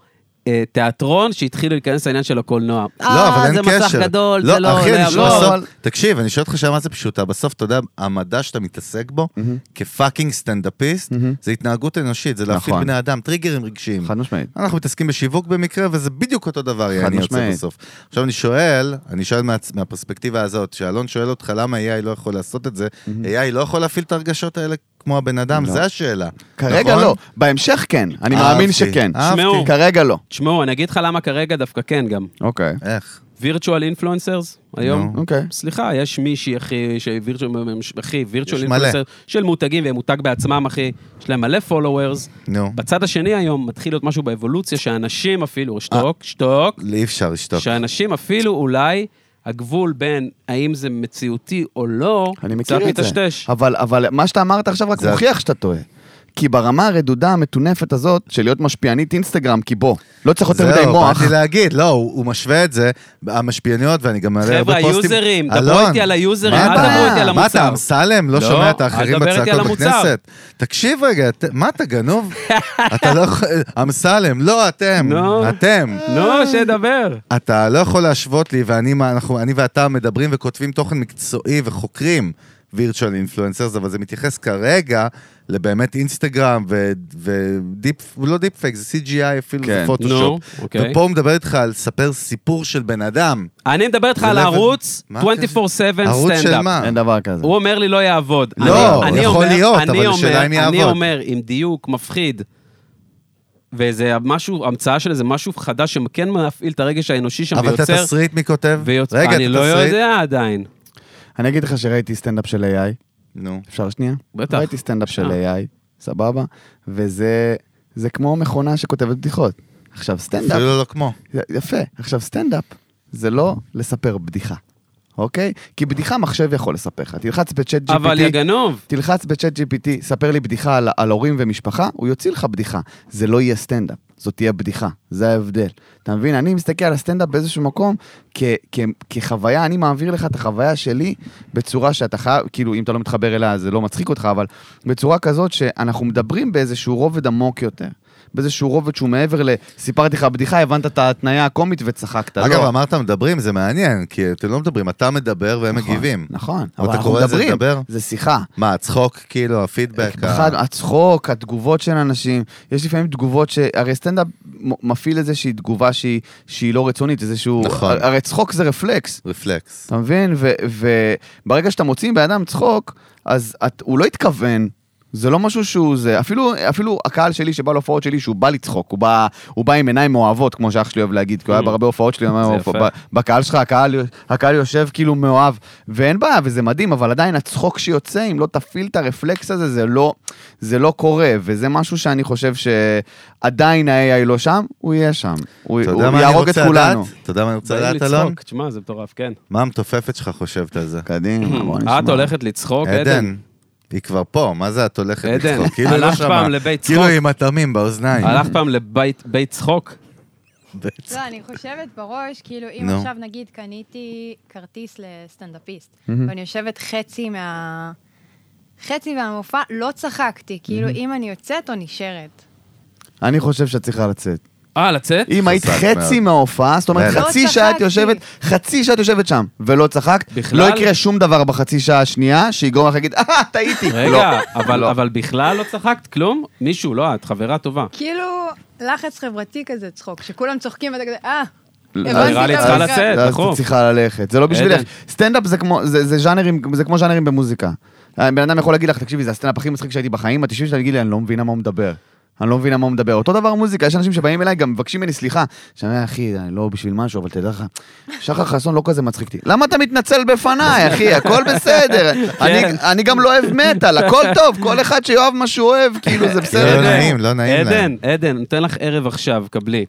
S2: אה, תיאטרון שהתחילו להיכנס לעניין של הקולנוע.
S1: לא, אבל אין קשר.
S2: אה, זה מסך גדול, זה לא...
S1: אחי,
S2: זה-
S1: אני שואל
S2: לא,
S1: בסוף,
S2: אבל-
S1: תקשיב, אני שואל אותך שאלה מה זה פשוטה, בסוף, אתה יודע, המדע שאתה מתעסק בו, כפאקינג סטנדאפיסט,
S3: מהמם.
S1: זה התנהגות אנושית, זה להפעיל
S3: נכון.
S1: בני אדם, טריגרים רגשיים.
S3: חד משמעית.
S1: אנחנו מתעסקים בשיווק במקרה, וזה בדיוק אותו דבר, יעני יוצא
S3: משמעית.
S1: בסוף. עכשיו אני שואל, אני שואל מה, מהפרספקטיבה הזאת, שאלון שואל אותך למה AI לא יכול לעשות את זה, AI לא יכול להפעיל את הרגשות האלה כמו הבן אדם,
S3: לא.
S1: זה השאלה.
S3: כרגע
S1: נכון?
S3: לא, בהמשך כן, אני
S1: אהבתי,
S3: מאמין שכן.
S1: אהבתי.
S2: שמעו.
S3: כרגע לא.
S2: תשמעו, אני אגיד לך למה כרגע דווקא כן גם.
S3: אוקיי.
S1: איך?
S2: וירטואל אינפלואנסרס היום.
S1: נו.
S3: אוקיי.
S2: סליחה, יש מישהי, אחי, שווירטואל, אחי, וירטואל
S1: יש מלא.
S2: אינפלואנסר של מותגים והם מותג בעצמם, אחי. יש להם מלא followers.
S1: נו.
S2: בצד השני היום מתחיל להיות משהו באבולוציה, שאנשים
S1: אה.
S2: אפילו, שתוק, שתוק,
S1: אי אפשר לשתוק.
S2: שאנשים אפילו אולי, הגבול בין האם זה מציאותי או לא,
S3: אני מכיר את
S2: קצת
S3: זה.
S2: מטשטש.
S3: אבל, אבל מה שאתה אמרת עכשיו רק
S1: זה-
S3: מוכיח שאתה טועה. כי ברמה הרדודה המטונפת הזאת של להיות משפיענית אינסטגרם, כי בוא, לא צריך יותר מדי
S1: זהו,
S3: מוח.
S1: באתי להגיד, לא, הוא הוא משווה את זה, המשפיעניות, ואני גם מעלה הרבה
S2: חבר'ה,
S1: פוסטים.
S2: היוזרים, דברו
S1: אלון,
S2: איתי על היוזרים, אל
S1: מה אתה-
S2: דברו איתי על
S1: מה אתה,
S2: המוצר.
S1: אמסלם? לא
S2: לא,
S1: שומע את
S2: אל
S1: האחרים
S2: תדבר איתי על
S1: בצעקות
S2: המוצר.
S1: בכנסת? תקשיב רגע, ת- מה אתה גנוב? אתה
S2: *laughs*
S1: לא יכול... אמסלם, לא, אתם,
S2: נו.
S1: אתם.
S2: נו, שידבר.
S1: אתה לא יכול להשוות לי, ואני מה- אנחנו- אני ואתה מדברים וכותבים תוכן מקצועי וחוקרים וירטואל אינפלואנסרס, אבל זה מתייחס כרגע לבאמת אינסטגרם ודיפ, הוא לא דיפ פייק, זה CGI אפילו, זה
S3: כן.
S1: פוטושופ.
S2: נו, אוקיי.
S1: ופה הוא מדבר איתך על ספר סיפור של בן אדם.
S2: אני מדבר איתך
S1: זה
S2: על
S1: level-
S2: ערוץ 24/7
S1: מה הקשר? ערוץ של
S2: סטנדאפ.
S1: מה?
S3: *laughs* אין דבר כזה.
S2: הוא אומר לי לא יעבוד.
S1: לא,
S2: אני- אני
S1: יכול
S2: אומר-
S1: להיות,
S2: אני
S1: אבל
S2: אומר-
S1: השאלה אם
S2: אני
S1: יעבוד.
S2: אומר, עם דיוק מפחיד, וזה משהו, המצאה של איזה משהו חדש שכן מפעיל את הרגש האנושי שם
S1: אבל את
S2: ויוצר...
S1: התסריט מי כותב?
S2: ויוצר-
S1: רגע, את
S2: אני לא
S1: התסריט?
S2: יודע עדיין.
S3: אני אגיד לך שראיתי סטנדאפ של AI,
S1: נו.
S3: אפשר שנייה?
S2: בטח.
S3: ראיתי סטנדאפ של
S2: אה.
S3: AI, סבבה? וזה זה כמו מכונה שכותבת בדיחות. עכשיו סטנדאפ,
S1: אפילו לא כמו.
S3: יפה, עכשיו סטנדאפ זה לא לספר בדיחה, אוקיי? כי בדיחה מחשב יכול לספר לך. תלחץ בצ'אט GPT.
S2: אבל יא גנוב.
S3: תלחץ בצ'אט GPT, ספר לי בדיחה על, על הורים ומשפחה, הוא יוציא לך בדיחה. זה לא יהיה סטנדאפ, זאת תהיה בדיחה, זה ההבדל. אתה מבין? אני מסתכל על הסטנדאפ באיזשהו מקום כ, כ, כחוויה, אני מעביר לך את החוויה שלי בצורה שאתה חייב, כאילו, אם אתה לא מתחבר אליה זה לא מצחיק אותך, אבל בצורה כזאת שאנחנו מדברים באיזשהו רובד עמוק יותר. באיזשהו רובד שהוא מעבר ל... סיפרתי לך בדיחה, הבנת את ההתניה הקומית וצחקת.
S1: אגב,
S3: לא.
S1: אמרת מדברים, זה מעניין, כי אתם לא מדברים, אתה מדבר והם
S3: נכון,
S1: מגיבים.
S3: נכון,
S1: אבל
S3: אבל
S1: אתה
S3: אנחנו
S1: קורא לזה
S3: מדברים,
S1: לדבר?
S3: זה שיחה.
S1: מה, הצחוק, כאילו, הפידבק? ה-
S3: אחד, הצחוק, התגובות של אנשים, יש לפעמים תגובות ש... הרי סטנדאפ מ- מפעיל איזושהי תגובה שהיא, שהיא לא רצונית, איזשהו...
S1: נכון.
S3: הרי צחוק זה רפלקס,
S1: רפלקס.
S3: אתה מבין? ו- וברגע שאתה מוציא מבן אדם צחוק, אז את, הוא לא התכוון, זה לא משהו שהוא זה, אפילו, אפילו הקהל שלי שבא להופעות שלי, שהוא בא לצחוק, הוא בא, הוא בא עם עיניים אוהבות, כמו שאח שלי אוהב להגיד, כי הוא היה בהרבה הופעות שלי, הוא
S2: Mm. זה
S3: אומר,
S2: יפה.
S3: "ב- בקהל שלך, הקהל, הקהל יושב כאילו מאוהב, ואין בעיה, וזה מדהים, אבל עדיין הצחוק שיוצא, אם לא תפעיל את הרפלקס הזה, זה לא, זה לא קורה, וזה משהו שאני חושב שעדיין ה-AI לא שם, הוא יהיה שם. הוא,
S1: אתה
S3: הוא
S1: יודע מה אני
S3: יהרוג את
S1: רוצה
S3: כולנו.
S1: לדעת? אתה יודע מה אני רוצה
S2: באים
S1: לדעת,
S2: לצחוק.
S1: אלון?
S2: תשמע, זה מטורף, כן.
S1: מה המתופפת שלך חושבת על זה?
S3: קדימה, בוא נשמע.
S2: את הולכת לצחוק, אוקיי, עדן.
S1: עדן, היא כבר פה, מה זה את הולכת
S2: עדן,
S1: לצחוק? כאילו היא לא
S2: הלכת
S1: שמעה.
S2: פעם לבית צחוק?
S1: כאילו היא עם התמים באוזניים.
S2: הלך פעם לבית בית צחוק?
S1: בעצם.
S4: לא, אני חושבת בראש, כאילו, אם
S1: נו.
S4: עכשיו נגיד קניתי כרטיס לסטנדאפיסט, ואני יושבת חצי מה... חצי מהמופע, לא צחקתי, כאילו, אם אני יוצאת או נשארת.
S3: אני חושב שאת צריכה לצאת.
S2: אה, לצאת?
S3: אם היית
S1: חזק
S3: חצי מההופעה, זאת אומרת
S1: לא
S3: חצי שעה את
S4: צחקתי.
S3: יושבת, חצי שעה את יושבת שם, ולא צחקת,
S2: בכלל?
S3: לא יקרה שום דבר בחצי שעה השנייה שיגרום לך להגיד, אה, טעיתי. לא.
S2: רגע, אבל-
S3: לא.
S2: אבל בכלל לא צחקת כלום? מישהו, לא את, חברה טובה.
S4: כאילו, לחץ חברתי כזה צחוק, שכולם צוחקים ואתה כזה, אה,
S3: אז-
S2: נראה לי
S4: את
S2: צריכה
S4: המשחק."
S2: לצאת,
S3: אז
S2: נכון.
S3: לא,
S2: אה.
S3: את צריכה ללכת, זה לא בשבילך. סטנדאפ זה כמו, זה זה ז'אנרים, זה כמו ז'אנרים במוזיקה. אה, בן אדם יכול להגיד לך, תקשיבי, זה הסטנדאפ הכי מצחיק שהייתי בחיים, את תשבי שאתה תגיד לי, אני לא מבינה מה הוא מדבר. אני לא מבינה מה הוא מדבר. אותו דבר מוזיקה, יש אנשים שבאים אליי, גם מבקשים ממני סליחה. שאני אומר, אחי, אני לא בשביל משהו, אבל תדע לך, שחר חסון לא כזה מצחיק אותי. למה אתה מתנצל בפניי, אחי? הכל
S2: *laughs*
S3: בסדר.
S2: כן.
S3: אני- אני גם לא אוהב מטאל, הכל טוב, כל אחד שיאהב מה שהוא אוהב,
S2: *laughs*
S3: כאילו, זה
S1: לא
S3: בסדר.
S1: נעים, לא נעים להם.
S2: עדן, עדן, נותן לך ערב עכשיו, קבלי.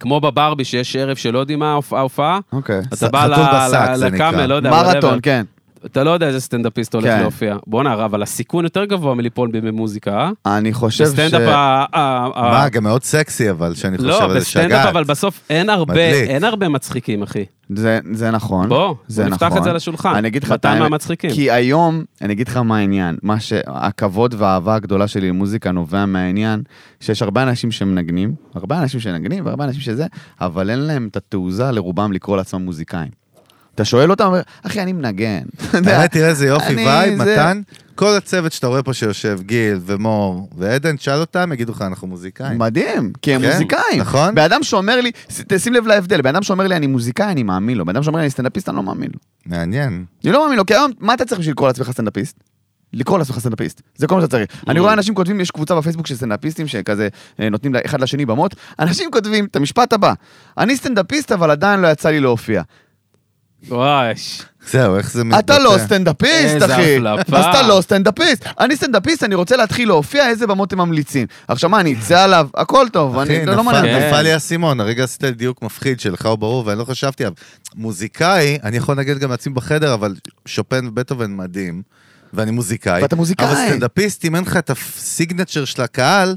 S2: כמו בברבי שיש ערב שלא יודעים מה ההופעה- ההופעה,
S3: אוקיי.
S2: אתה בא ל-
S1: אה, חתול בשק,
S2: ל-
S1: זה נקרא.
S2: לקאמל, לא יודע,
S3: מרתון,
S2: whatever.
S3: כן.
S2: אתה לא יודע איזה סטנדאפיסט הולך
S3: כן.
S2: להופיע. בואנה, אבל הסיכון יותר גבוה מליפול במוזיקה, אה?
S3: אני חושב ש...
S2: בסטנדאפ ה... ה- ה-
S1: מה, גם מאוד סקסי אבל, שאני חושב
S2: לא,
S1: על זה
S2: בסטנדאפ,
S1: שגעת.
S2: אבל בסוף אין הרבה,
S1: מדליק.
S2: אין הרבה מצחיקים, אחי.
S3: זה, זה נכון.
S2: בוא,
S3: זה
S2: בוא נפתח
S3: נכון.
S2: את זה על השולחן.
S3: אני אגיד לך
S2: אתה מהמצחיקים.
S3: כי היום, אני אגיד לך מה העניין. מה שהכבוד והאהבה הגדולה שלי למוזיקה נובע מהעניין שיש הרבה אנשים שמנגנים, הרבה אנשים שמנגנים והרבה אנשים שזה, אבל אין להם את התעוזה לרובם לקרוא לעצמם מוזיקאים. אתה שואל אותם, אומר, אחי, אני
S1: *laughs*
S3: מנגן. אתה יודע, *laughs*
S1: באמת, תראה איזה יופי
S3: אני-
S1: וייב,
S3: זה-
S1: מתן. כל הצוות שאתה רואה פה שיושב, גיל ומור ועדן, תשאל אותם, יגידו לך, אנחנו מוזיקאים.
S3: מדהים, כי הם
S1: כן,
S3: מוזיקאים.
S1: נכון.
S3: בן אדם שאומר לי, ש- תשים לב להבדל, בן אדם שאומר לי אני מוזיקאי, אני מאמין לו. בן אדם שאומר לי אני סטנדאפיסט, אני לא מאמין לו.
S1: מעניין.
S3: אני לא מאמין לו, כי היום, מה אתה צריך בשביל לקרוא לעצמך סטנדאפיסט? לקרוא לעצמך סטנדאפיסט, זה כל מה שאתה צריך.
S1: Mm.
S3: אני רואה אנשים כותבים, יש קבוצה בפייסבוק של סטנדאפיסטים שכזה אה, נותנים לה- אחד לשני במות, אנשים כותבים את המשפט הבא, אני סטנדאפיסט אבל עדיין לא יצא לי להופיע.
S2: וואי, ש-
S1: זהו, איך זה
S3: אתה לא
S1: מתבטא?
S3: סטנדאפיסט,
S2: איזה
S3: אחי.
S2: החלפה.
S3: אז אתה לא סטנדאפיסט. אני סטנדאפיסט, אני רוצה להתחיל להופיע, איזה במות הם ממליצים. עכשיו מה, אני אצא עליו, הכל טוב,
S1: אחי,
S3: אני לא- לא
S1: נפל-
S3: מעניין. אותי.
S2: כן.
S1: נפל לי האסימון, הרגע עשית לי דיוק מפחיד שלך הוא ברור, ואני לא חשבתי עליו. מוזיקאי, אני יכול לנגן גם לעצמי בחדר, אבל שופן ובטהובן מדהים, ואני מוזיקאי.
S3: ואתה מוזיקאי.
S1: אבל סטנדאפיסט, אם אין לך את הסיגנצ'ר של הקהל,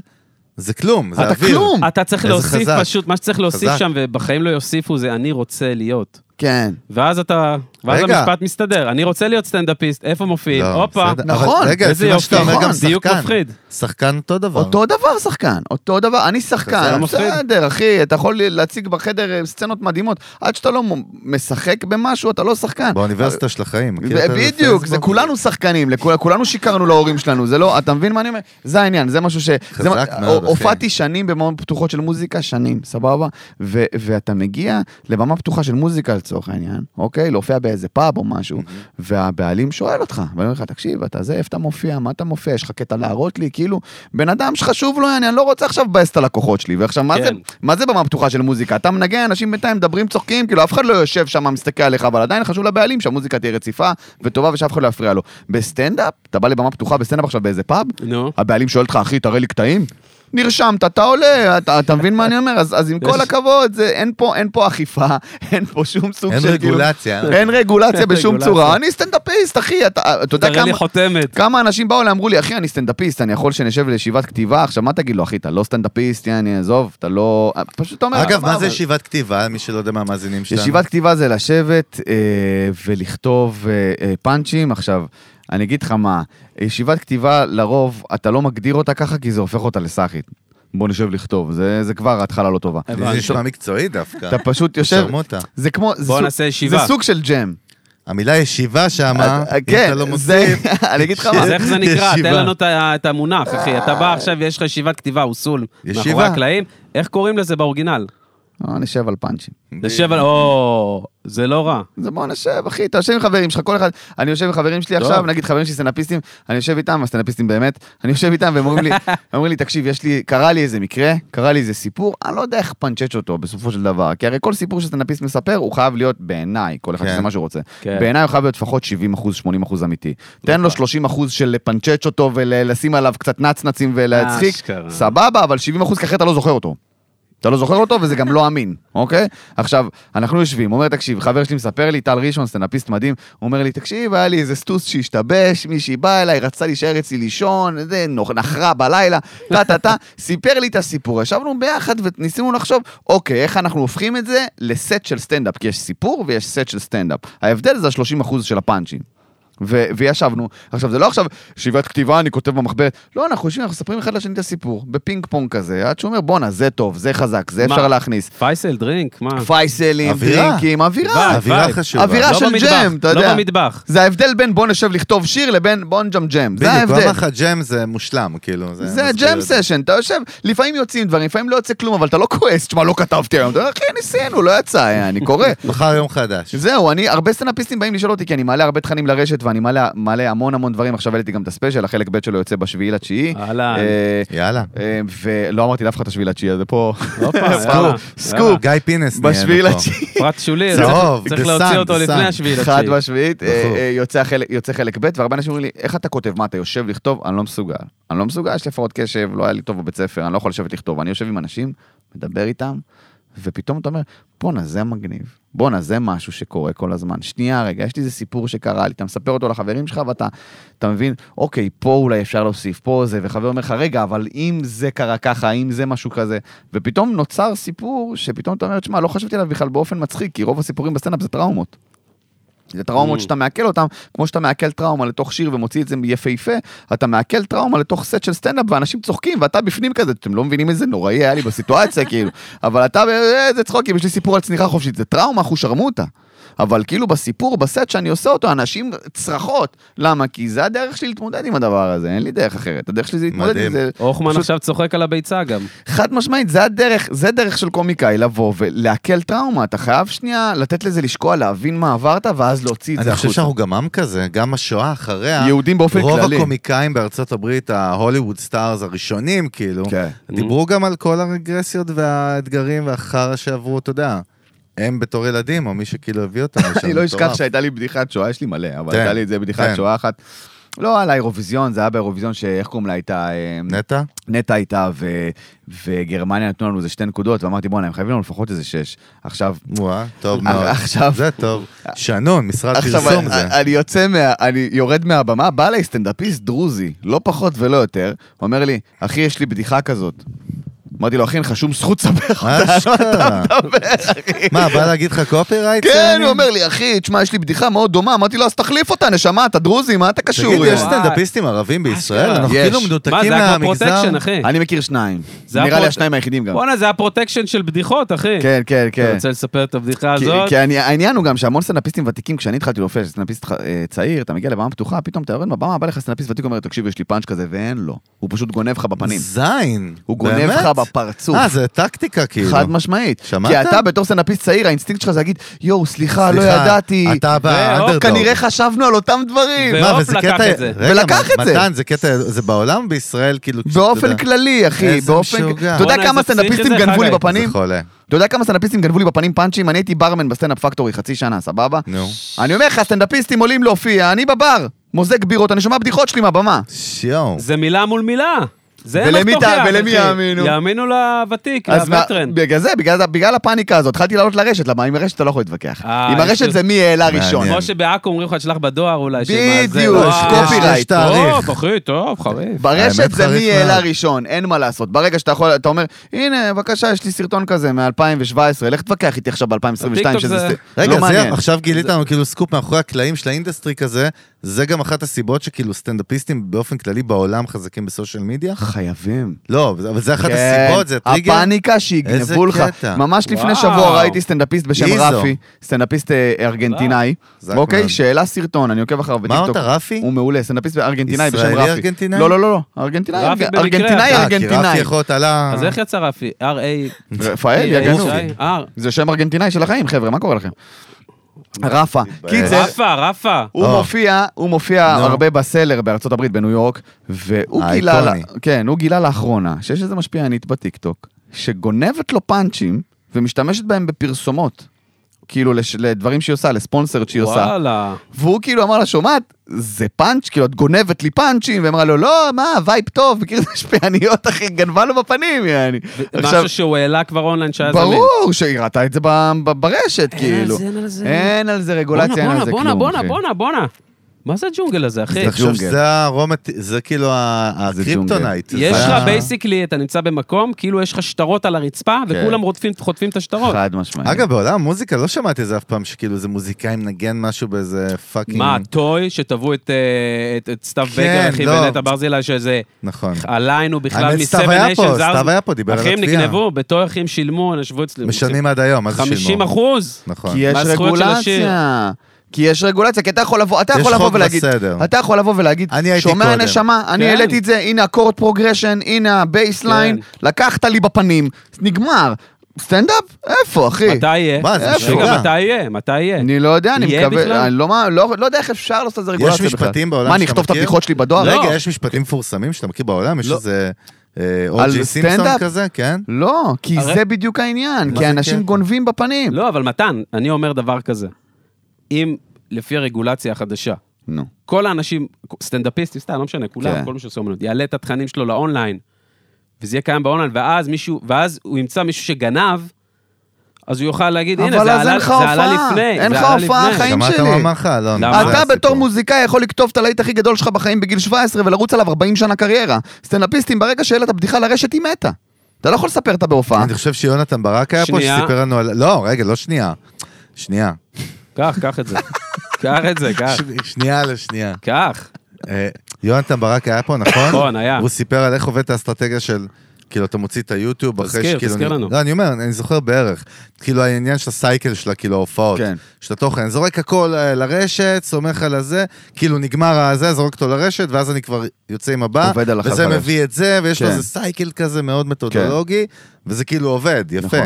S1: זה כלום, זה
S3: אתה
S1: אוויר.
S3: כלום.
S2: אתה צריך
S1: איזה
S2: להוסיף
S1: חזק.
S2: פשוט, מה שצריך להוסיף
S1: חזק.
S2: שם, ובחיים לא יוסיפו, זה אני רוצה להיות.
S3: כן.
S2: ואז אתה, ואז
S1: רגע.
S2: המשפט מסתדר, אני רוצה להיות סטנדאפיסט, איפה מופיעים?
S1: לא,
S2: הופה,
S1: בסדר. אבל
S3: נכון,
S1: רגע,
S2: איזה
S1: לפי מה שאתה
S2: יופי.
S1: אומר, גם
S2: נכון, דיוק
S1: שחקן.
S2: מפחיד.
S1: שחקן אותו דבר.
S3: אותו דבר שחקן, אותו דבר, אני
S1: זה
S3: שחקן,
S1: לא
S2: מפחיד.
S3: בסדר אחי, אתה יכול להציג בחדר אה, סצנות מדהימות, עד שאתה לא מ- משחק במשהו, אתה לא שחקן.
S1: באוניברסיטה של החיים. מכיר את
S3: ו-
S1: זה
S3: בדיוק, זה
S1: בפייסבוק?
S3: כולנו שחקנים, לכול- כולנו שיקרנו להורים שלנו, זה לא, אתה מבין מה אני אומר? זה העניין, זה משהו ש... זה מה-
S1: חזק מאוד,
S3: ה-
S1: אחי.
S3: הופעתי שנים במות פתוחות של מוזיקה, שנים, סבבה? ו- ואתה מגיע לבמה פתוחה של מוזיקה לצורך העניין, אוקיי? להופיע באיזה פאב או משהו, והבעלים שואל אותך, ואני אומר לך, תקשיב, אתה זה, איפה אתה מופיע, מה אתה מופיע, יש לך קטע להראות לי, כאילו, בן אדם שחשוב לו, אני אני לא רוצה עכשיו לבאס את הלקוחות שלי, ועכשיו, מה
S2: כן.
S3: זה- מה זה במה פתוחה של מוזיקה? אתה מנגן, אנשים בינתיים מדברים, צוחקים, כאילו אף אחד לא יושב שם, מסתכל עליך, אבל עדיין חשוב לבעלים שהמוזיקה תהיה רציפה וטובה ושאף אחד לא יפריע לו. בסטנדאפ, אתה בא לבמה פתוחה בסטנדאפ עכשיו באיזה פאב,
S2: נו.
S3: הבעלים שואל אותך, אחי, תראה לי קטעים? נרשמת, אתה עולה, אתה, אתה מבין מה אני אומר? אז, אז עם כל הכבוד, זה, אין, פה, אין פה אכיפה, *laughs* אין פה שום סוג
S1: אין
S3: של... כאילו-
S1: רגולציה.
S3: אין רגולציה בשום
S2: רגולציה.
S3: צורה. אני סטנדאפיסט, אחי, אתה אתה יודע
S2: תראה לי
S3: כמה...
S2: חותמת.
S3: כמה אנשים באו אליי, אמרו לי, אחי, אני סטנדאפיסט, אני יכול שנשב לישיבת כתיבה, עכשיו מה תגיד לו, אחי, אתה לא סטנדאפיסט, אני עזוב, אתה לא... פשוט אתה אומר...
S1: אגב,
S3: "אבל-
S1: מה זה ישיבת כתיבה, מי שלא יודע מה המאזינים שלנו?
S3: ישיבת כתיבה זה לשבת אה, ולכתוב אה, אה, פאנצ'ים. עכשיו, אני אגיד לך מה, ישיבת כתיבה לרוב, אתה לא מגדיר אותה ככה, כי זה הופך אותה לסאחית. בוא נשב לכתוב, זה, זה כבר התחלה לא טובה.
S1: זה נשמע מקצועי דווקא.
S3: אתה פשוט יושב,
S1: שרמוטה.
S3: זה כמו, זה
S2: בוא
S3: סוג-
S2: נעשה ישיבה.
S3: זה סוג של ג'ם.
S1: המילה ישיבה שמה,
S3: אה,
S1: אם
S3: כן,
S1: אתה לא
S3: זה,
S1: מוסיף,
S3: *laughs* אני אגיד לך מה,
S2: אז איך זה נקרא?
S1: ישיבה.
S2: תן לנו את ה- את המונח, אחי. אתה בא עכשיו, יש לך ישיבת כתיבה, אוסול.
S1: ישיבה.
S2: מאחורי הקלעים. איך קוראים לזה באורגינל?
S3: בוא נשב על פאנצ'ים.
S2: נשב על... או, זה לא רע.
S3: זה בוא נשב, אחי, אתה יושב עם חברים שלך, כל אחד, אני יושב עם חברים שלי עכשיו, נגיד חברים שלי סטנאפיסטים, אני יושב איתם, הסטנאפיסטים באמת, אני יושב איתם והם אומרים לי, הם אומרים לי, תקשיב, יש לי, קרה לי איזה מקרה, קרה לי איזה סיפור, אני לא יודע איך פנצ'ץ' אותו בסופו של דבר, כי הרי כל סיפור שסטנאפיסט מספר, הוא חייב להיות בעיניי, כל אחד
S1: כן.
S3: שזה מה שהוא רוצה,
S2: כן.
S3: בעיניי הוא חייב להיות לפחות 70 אחוז, 80 אחוז אמיתי. תן לו 30 אחוז של לפנצ'ץ' אותו ולשים עליו קצת נצנצים ולהצחיק,
S2: אשכרה.
S3: סבבה, אבל 70 אחוז, כי אחרת אתה לא זוכר אותו. אתה לא זוכר אותו וזה גם לא אמין, אוקיי? עכשיו, אנחנו יושבים, הוא אומר, תקשיב, חבר שלי מספר לי, טל ראשון, סטנאפיסט מדהים, הוא אומר לי, תקשיב, היה לי איזה סטוס שהשתבש, מישהי באה אליי, רצתה להישאר אצלי לישון, זה, נוח- נחרה בלילה, טה טה טה, סיפר לי את הסיפור, ישבנו ביחד וניסינו לחשוב, אוקיי, איך אנחנו הופכים את זה לסט של סטנדאפ, כי יש סיפור ויש סט של סטנדאפ. ההבדל זה ה-30% של הפאנצ'ים. ו- וישבנו, עכשיו זה לא עכשיו שאיבת כתיבה, אני כותב במחברת, לא, אנחנו יושבים, אנחנו מספרים אחד לשני את הסיפור, בפינג פונג כזה, עד שהוא אומר, בואנה, זה טוב, זה חזק, זה
S2: מה? אה.
S3: אפשר להכניס.
S2: פייסל, דרינק, מה?
S3: פייסלים,
S1: אווירה.
S3: דרינקים, אווירה.
S2: וייב,
S1: אווירה
S2: וייב.
S1: חשובה.
S3: אה, אווירה
S2: לא
S3: של
S2: במטבח,
S3: ג'ם, אתה
S2: לא
S3: יודע.
S2: במטבח.
S3: זה ההבדל בין בוא נשב לכתוב שיר לבין בוא נג'ם ג'ם,
S1: בדיוק,
S3: זה
S1: הוא אמר
S3: ההבדל.
S1: לך ג'ם זה מושלם, כאילו.
S3: זה
S1: מסביר
S3: ג'ם
S1: את זה.
S3: סשן, אתה יושב, לפעמים יוצאים דברים, לפעמים לא יוצא כלום, אבל אתה לא כועס, תשמע, לא כתבתי היום, אתה אומר, אחי, ניסינו, לא יצא, אני קורא. *laughs*
S1: מחר יום חדש.
S3: זהו, אני, הרבה סטנאפיסטים באים לשאול אותי, כי אני מעלה הרבה תכנים לרשת, ואני מעלה, מעלה המון המון דברים, עכשיו העליתי גם את הספיישל, החלק ב' שלו יוצא בשביעי לתשיעי.
S2: אהלן.
S3: אה,
S1: יאללה.
S3: אה, ולא אמרתי לאף אחד את השביעי לתשיעי, אז זה *laughs* פה.
S2: הופה, יאללה.
S3: סקופ, סקופ,
S1: גיא פינס נהיה
S3: בשביעי
S1: לנו פה.
S3: לתשיעי.
S2: פרט שולי,
S1: צהוב,
S2: צריך
S1: the
S2: להוציא
S1: sun,
S2: אותו
S1: the
S2: לפני
S1: sun.
S2: השביעי
S3: חד
S2: לתשיעי.
S3: משמעית, אה,
S1: נכון.
S3: אה, יוצא חלק- יוצא חלק ב', והרבה אנשים אומרים לי, איך אתה כותב? מה, אתה יושב לכתוב? אני לא מסוגל. אני לא מסוגל, יש לי הפרעות קשב, לא היה לי טוב בבית ספר, אני לא יכול לשבת לכתוב. אני יושב עם אנשים, מדבר איתם, ופתאום אתה אומר, בואנה, זה מגניב. בואנה, זה משהו שקורה כל הזמן. שנייה רגע, יש לי איזה סיפור שקרה לי, אתה מספר אותו לחברים שלך ואתה, אתה מבין, אוקיי, פה אולי אפשר להוסיף, פה זה, וחבר אומר לך, רגע, אבל אם זה קרה ככה, אם זה משהו כזה, ופתאום נוצר סיפור שפתאום אתה אומר, שמע, לא חשבתי עליו בכלל באופן מצחיק, כי רוב הסיפורים בסטנדאפ זה טראומות. זה
S1: Mm.
S3: טראומות שאתה מעכל אותן, כמו שאתה מעכל טראומה לתוך שיר ומוציא את זה יפהפה, אתה מעכל טראומה לתוך סט של סטנדאפ ואנשים צוחקים ואתה בפנים כזה, אתם לא מבינים איזה נוראי היה לי בסיטואציה, *laughs* כאילו, אבל אתה, "אה, איזה צחוקים, יש לי סיפור על צניחה חופשית, זה טראומה, חושרמוטה. אבל כאילו בסיפור, בסט שאני עושה אותו, אנשים צרחות. למה? כי זה הדרך שלי להתמודד עם הדבר הזה, אין לי דרך אחרת. הדרך שלי זה להתמודד
S1: מדהים.
S3: עם זה.
S2: הוכמן
S3: פשוט-
S2: עכשיו צוחק על הביצה גם.
S3: חד משמעית, זה הדרך, זה דרך של קומיקאי, לבוא ולעכל טראומה. אתה חייב שנייה לתת לזה לשקוע, להבין מה עברת, ואז להוציא את זה
S1: אני חושב
S3: החוצה.
S1: שאנחנו גם עם כזה, גם השואה אחריה.
S3: יהודים באופן
S1: רוב
S3: כללי.
S1: הקומיקאים בארצות הברית, ההוליווד סטארס הראשונים, כאילו,
S3: כן.
S1: דיברו גם על כל הרגרסיות והאתגרים והחרא שעברו, אתה יודע. הם בתור ילדים, או מי שכאילו הביא
S3: *laughs*
S1: אותם לשם.
S3: אני לא אשכח
S1: מטורף.
S3: שהייתה לי בדיחת שואה, יש לי מלא, אבל
S1: כן,
S3: הייתה לי את זה בדיחת
S1: כן.
S3: שואה אחת. לא על האירוויזיון, זה היה באירוויזיון שאיך קוראים לה הייתה? אה,
S1: נטע?
S3: נטע הייתה, ו- וגרמניה נתנו לנו איזה שתי נקודות, ואמרתי בואנה, הם חייבים לנו לפחות איזה שש. עכשיו,
S1: וואה, טוב מאוד.
S3: אה, עכשיו-
S1: זה טוב. שנון, משרד
S3: עכשיו
S1: פרסום
S3: אני- אה,
S1: זה.
S3: אני יוצא מה... אני יורד מהבמה, בא אליי סטנדאפיסט דרוזי, לא פחות ולא יותר, אומר לי, אחי, יש לי בדיחה כזאת. אמרתי לו, אחי, אין לך שום זכות לספר אותה,
S1: מה אשכרה? מה, בא להגיד לך קופי רייט?
S3: כן, הוא אומר לי, אחי, תשמע, יש לי בדיחה מאוד דומה. אמרתי לו, אז תחליף אותה, נשמה, אתה דרוזי, מה אתה קשור?
S1: תגיד,
S3: יא?"
S1: יש סטנדאפיסטים ערבים בישראל?
S2: אשכרה.
S1: אנחנו
S3: אה, יש.
S1: כאילו
S2: מה,
S1: מנותקים
S2: זה היה כמו
S1: מהמגזר.
S2: פרוטקשן, אחי.
S3: אני מכיר שניים.
S2: זה
S3: נראה לי
S2: הפרוט-
S3: השניים היחידים גם.
S2: בואנה, זה היה פרוטקשן של בדיחות, אחי.
S3: כן, כן,
S2: אתה
S3: כן.
S2: רוצה לספר את הבדיחה
S3: כי-
S2: הזאת?
S3: כי אני- העניין הוא גם שהמון סטנאפיסטים ותיקים, כשאני התחלתי להופיע, סטנאפיסט ח- אה, צעיר, אתה מגיע לבמה פתוחה, פתאום אתה יורד מהבמה, בא לך סטנאפיסט ותיק אומר, תקשיב, יש לי פאנץ' כזה, ואין לו. הוא פשוט גונב לך בפנים.
S1: זין.
S3: הוא גונב
S1: באמת?
S3: לך בפרצוף.
S1: אה, זה טקטיקה כאילו.
S3: חד משמעית.
S1: שמעת?
S3: כי אתה בתור סטנאפיסט צעיר, האינסטינקט שלך זה להגיד, יואו, סליחה, לא
S1: סליחה,
S3: ידעתי. אה,
S1: אתה אה, באנדרדוג.
S3: כנראה חשבנו על אותם דברים.
S2: ו-
S1: מה,
S2: והופ,
S1: וזה
S2: לקח
S1: קטע-
S2: את זה.
S1: רגע,
S3: ולקח
S1: מ-
S3: את זה.
S1: מתן, זה קטע, זה בעולם, בישראל, כאילו... כשאתה
S3: באופן
S1: יודע-
S3: כללי, אחי,
S1: איזה
S3: באופן...
S1: משוגע.
S3: אתה יודע
S2: בואנה,
S3: כמה
S2: איזה פסיכי
S3: סטנדאפיסטים
S2: זה,
S3: גנבו לי
S2: חגי.
S1: זה
S3: בפנים?
S1: חולה.
S3: אתה יודע כמה סטנדאפיסטים גנבו לי בפנים פאנצ'ים? אני הייתי ברמן בסטנדאפ פקטורי חצי שנה, סבבה?
S1: נו.
S3: אני אומר לך, סטנדאפיסטים עולים להופיע, אני בבר, מוזג בירות, אני שומע בדיחות שלי מהבמה.
S1: שיואו.
S2: זה מילה מול מילה. זה אין לך
S3: ולמי ת-
S2: תוכיח,
S3: ולמי
S2: אחי.
S3: יאמינו?
S2: יאמינו לוותיק,
S3: אז מה-
S2: לווטרן.
S3: בגלל זה, בגלל- בגלל הפאניקה הזאת, התחלתי לעלות לרשת, למה עם הרשת אתה לא יכול להתווכח.
S2: אה,
S3: עם
S2: יש
S3: הרשת
S2: לי-
S3: זה מי העלה ראשון.
S1: מעניין.
S2: כמו שבעכו אומרים לך, תשלח בדואר אולי. שמה זה,
S3: בדיוק,
S2: וואו.
S1: כן. יש
S3: copyright.
S1: יש תאריך.
S2: טוב, אחי, טוב, חריף.
S3: ברשת
S1: האמת,
S3: זה
S1: חריף
S3: מי העלה
S1: מאוד.
S3: ראשון, אין מה לעשות. ברגע שאתה יכול, אתה אומר, הנה, בבקשה, יש לי סרטון כזה מ-2017, לך תתווכח איתי עכשיו ב-2022,
S2: הטיקטוק
S3: שזה
S2: זה-
S3: סט-
S1: רגע,
S3: לא
S1: זה
S3: מעניין.
S1: עכשיו גילית לנו כאילו סקופ מאחורי הקלעים של האינדסטרי כזה, זה גם אחת הסיבות שכאילו סטנדאפיסטים באופן כללי בעולם חזקים בסושיאל מדיה?
S3: חייבים.
S1: לא, אבל זה אחת
S3: כן,
S1: הסיבות, זה טריגר.
S3: הפאניקה
S1: איזה
S3: שיגנבו לך.
S1: קטע.
S3: ממש לפני
S2: וואו.
S3: שבוע ראיתי סטנדאפיסט בשם
S1: איזו.
S3: רפי, סטנדאפיסט אה, ארגנטינאי.
S1: זקמן.
S3: אוקיי, שהעלה סרטון, אני עוקב אחריו
S1: מה
S3: בטיקטוק.
S1: אמרת, רפי?
S3: הוא מעולה, סטנדאפיסט ארגנטינאי בשם רפי.
S1: ישראלי ארגנטינאי?
S3: לא, לא, לא, לא, ארגנטינאי,
S2: רפי במקרה,
S3: ארגנטינאי,
S2: אה,
S1: אה, כי רפי
S3: ארגנטינאי.
S1: יכול להיות עלה...
S2: אז איך יצא רפי?
S3: אה,
S2: R.A.
S3: רפאל, יגנוב.
S2: R.
S3: זה שם ארגנטינאי של החיים, חבר'ה, מה קורה לכם? רפה. קיצר,
S2: רפה, רפה.
S3: הוא
S1: אה.
S3: מופיע, הוא מופיע
S1: נו. אה,
S3: הרבה בסלר בארצות הברית, בניו יורק, והוא
S1: האיקוני.
S3: גילה, לה- כן, הוא גילה לאחרונה שיש איזו משפיענית בטיקטוק, שגונבת לו פאנצ'ים ומשתמשת בהם בפרסומות. כאילו לש- לדברים שהיא עושה, לספונסרד שהיא עושה.
S2: וואלה.
S3: והוא כאילו אמר לה, שומעת, זה פאנץ', כאילו, את גונבת לי פאנצ'ים, ואמרה לו, לא, מה, וייב טוב, מכיר את השפיעניות, אחי, גנבה לו בפנים, יעני. עכשיו,
S2: משהו שהוא העלה כבר אונליין שהיה זמין.
S3: ברור שהיא ראתה את זה ב- ב- ברשת,
S2: אין על
S3: כאילו.
S2: זה, אין על זה.
S3: אין על זה
S2: בואנה,
S3: רגולציה, אין
S2: בואנה,
S3: על זה
S2: בואנה,
S3: כלום, כן.
S2: בואנה,
S3: אחי.
S2: בואנה, בואנה. מה זה הג'ונגל הזה, אחי?
S1: תחשוב
S3: ג'ונגל.
S1: שזה הרומת... זה כאילו ה-
S3: זה
S1: הקריפטונייט.
S2: יש
S1: זה
S2: לך
S1: ה-
S2: בייסיקלי, אתה נמצא במקום, כאילו יש לך שטרות על הרצפה,
S1: כן.
S2: וכולם רודפים- חוטפים את השטרות.
S3: חד משמעית.
S1: אגב, בעולם המוזיקה לא שמעתי את זה אף פעם, שכאילו איזה מוזיקאי מנגן משהו באיזה פאקינג...
S2: מה, טוי, שתבעו את, אה, את, את סתיו
S1: כן,
S2: בקר, אחי,
S1: לא.
S2: ונטע ברזילה, שזה
S1: נכון.
S2: עליין הוא בכלל
S1: האמת, סתיו
S2: מסבן
S1: היה
S2: ניישן
S1: פה,
S2: זרז.
S1: סתיו היה פה, דיבר על
S2: אחים
S1: התביעה.
S2: נגנבו, בתוי אחים שילמו, הם ישבו אצלי.
S1: משלמים עד היום, מה זה שילמו?
S2: 50 אחוז?
S1: נכון.
S3: כי יש
S2: מהזכויות של השיר.
S3: רגולציה. כי יש רגולציה, כי אתה יכול לבוא, אתה
S1: יש
S3: יכול לבוא
S1: חוק
S3: ולהגיד,
S1: וסדר.
S3: אתה יכול לבוא ולהגיד,
S1: אני הייתי
S3: שומע
S1: קודם."
S3: נשמה, אני
S2: כן.
S3: העליתי את זה, הנה הקורד פרוגרשן, הנה הבייסליין, לקחת לי בפנים, נגמר. סטנדאפ? איפה, אחי?
S2: מתי יהיה?
S1: מה, זה
S2: רגע,
S1: משוגע.
S2: מתי יהיה? מתי יהיה?
S3: אני לא יודע, אני
S2: יהיה בכלל?
S3: מקווה, אני לא מה- לא לא יודע איך אפשר לעשות את זה
S1: יש
S3: רגולציה בכלל.
S1: משפטים בעולם
S3: מה,
S1: שאתה
S3: אני אכתוב את
S1: מכיר?
S3: הבדיחות שלי בדואר?
S1: רגע, יש משפטים מפורסמים שאתה מכיר בעולם? יש
S3: לא.
S1: איזה אה,
S3: על
S1: אוג'י סימפסון
S3: סטנדאפ?
S1: כזה? כן.
S3: לא, כי
S2: הרי-
S3: זה בדיוק העניין,
S1: מה
S3: כי
S1: זה
S3: אנשים
S1: כן?
S3: גונבים בפנים.
S2: לא, אבל מתן, אני אומר דבר כזה. אם, לפי הרגולציה החדשה,
S3: נו.
S2: כל האנשים, סטנדאפיסטים, סתם, לא משנה,
S3: כן.
S2: כולם, כל מי שעושה אומנות, יעלה את התכנים שלו לאונליין, וזה יהיה קיים באונליין, ואז מישהו, ואז הוא ימצא מישהו שגנב, אז הוא יוכל להגיד, הנה,
S3: אבל
S2: זה
S3: אז
S2: עלה
S3: אין
S2: זה
S3: לך
S2: עלה
S3: הופעה.
S2: לפני,
S3: אין
S2: זה
S3: לך
S2: עלה
S3: הופעה,
S2: לפני."
S3: חיים
S1: שמעת
S3: שלי.
S1: מה אמר לך, לא, אלון?
S2: למה?
S1: זה
S3: אתה
S1: הסיפור.
S3: בתור מוזיקאי יכול לכתוב את הלהיט הכי גדול שלך בחיים בגיל 17 ולרוץ עליו 40 שנה קריירה. סטנדאפיסטים, ברגע שהעלת בדיחה לרשת, היא מתה. אתה לא יכול לספר אותה בהופעה.
S1: אני חושב שיונתן ברק היה פה,
S2: שנייה.
S1: שסיפר לנו על... לא, רגע, לא שנייה. שנייה.
S2: קח, קח
S3: *laughs*
S2: את זה. קח את זה,
S3: אה.
S2: קח.
S1: ש- שנייה לשנייה.
S2: קח.
S1: אה, יונתן ברק היה פה, נכון?
S2: נכון, היה.
S1: והוא סיפר על איך עובדת האסטרטגיה של... כאילו, אתה מוציא את היוטיוב אחרי
S2: תזכיר,
S1: שכאילו...
S2: תזכיר
S1: אני-
S2: לנו.
S1: לא, אני אומר, אני זוכר בערך. כאילו, העניין של הסייקל שלה, כאילו, ההופעות.
S3: כן.
S1: של התוכן. אני זורק הכל אה, לרשת, סומך על הזה, כאילו, נגמר הזה, זורק אותו לרשת, ואז אני כבר יוצא עם הבא.
S3: עובד על
S1: וזה
S3: החלחלה.
S1: מביא את זה, ויש לו
S3: כן.
S1: איזה סייקל כזה מאוד מתודולוגי, וזה כאילו עובד, יפה.
S3: נכון.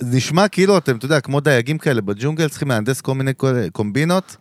S1: נשמע כאילו אתם, אתה יודע, כמו דייגים כאלה בג'ונגל, צריכים להנדס כל מיני קול- קומבינות,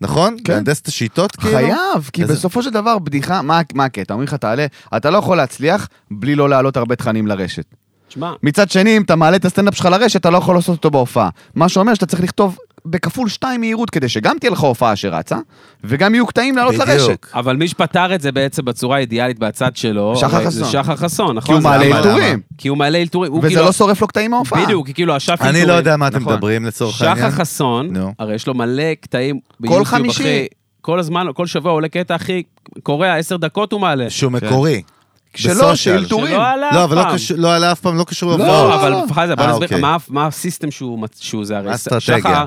S1: נכון?
S3: כן.
S1: להנדס את השיטות, כאילו.
S3: חייב, כי
S1: איזה-
S3: בסופו של דבר בדיחה, מה מה הקטע? אומרים לך תעלה, אתה לא יכול להצליח בלי לא להעלות הרבה תכנים לרשת.
S2: תשמע,
S3: מצד שני, אם אתה מעלה את הסטנדאפ שלך לרשת, אתה לא יכול לעשות אותו בהופעה. מה שאומר שאתה צריך לכתוב בכפול שתיים מהירות, כדי שגם תהיה לך הופעה שרצה, וגם יהיו קטעים לעלות
S1: בדיוק.
S3: לרשת.
S2: אבל מי שפתר את זה בעצם בצורה האידיאלית בצד שלו,
S3: שחר
S2: הרי
S3: חסון.
S2: זה שחר חסון, נכון?
S3: כי הוא
S2: זה
S3: מעלה
S2: למה?
S3: אלתורים,
S2: כי הוא מעלה אלתורים. הוא
S3: וזה
S2: כאילו-
S3: לא שורף לו קטעים מההופעה.
S2: בדיוק, כי כאילו השף אלתורים.
S1: אני לא יודע מה אתם
S3: נכון.
S1: מדברים לצורך העניין.
S2: שחר חסון,
S1: נו.
S2: הרי יש לו מלא קטעים ביוטיוב
S3: חמישי.
S2: אחרי... כל הזמן, כל שבוע עולה קטע הכי קורע, עשר דקות הוא מעלה.
S1: שהוא מקורי.
S3: שלא,
S1: בסושיאל.
S3: שאילתורים.
S2: שלא עלה
S1: לא,
S2: אף
S1: אבל לא
S2: פעם.
S1: קשור- לא עלה אף פעם, לא קשור
S2: לא,
S1: להופעות.
S2: אבל
S3: לא.
S2: חזן, בוא
S1: אה,
S2: נסביר
S1: אוקיי.
S2: לך מה- מה הסיסטם שהוא מצ- שהוא זה הרי.
S1: האסטרטגיה.
S2: שחר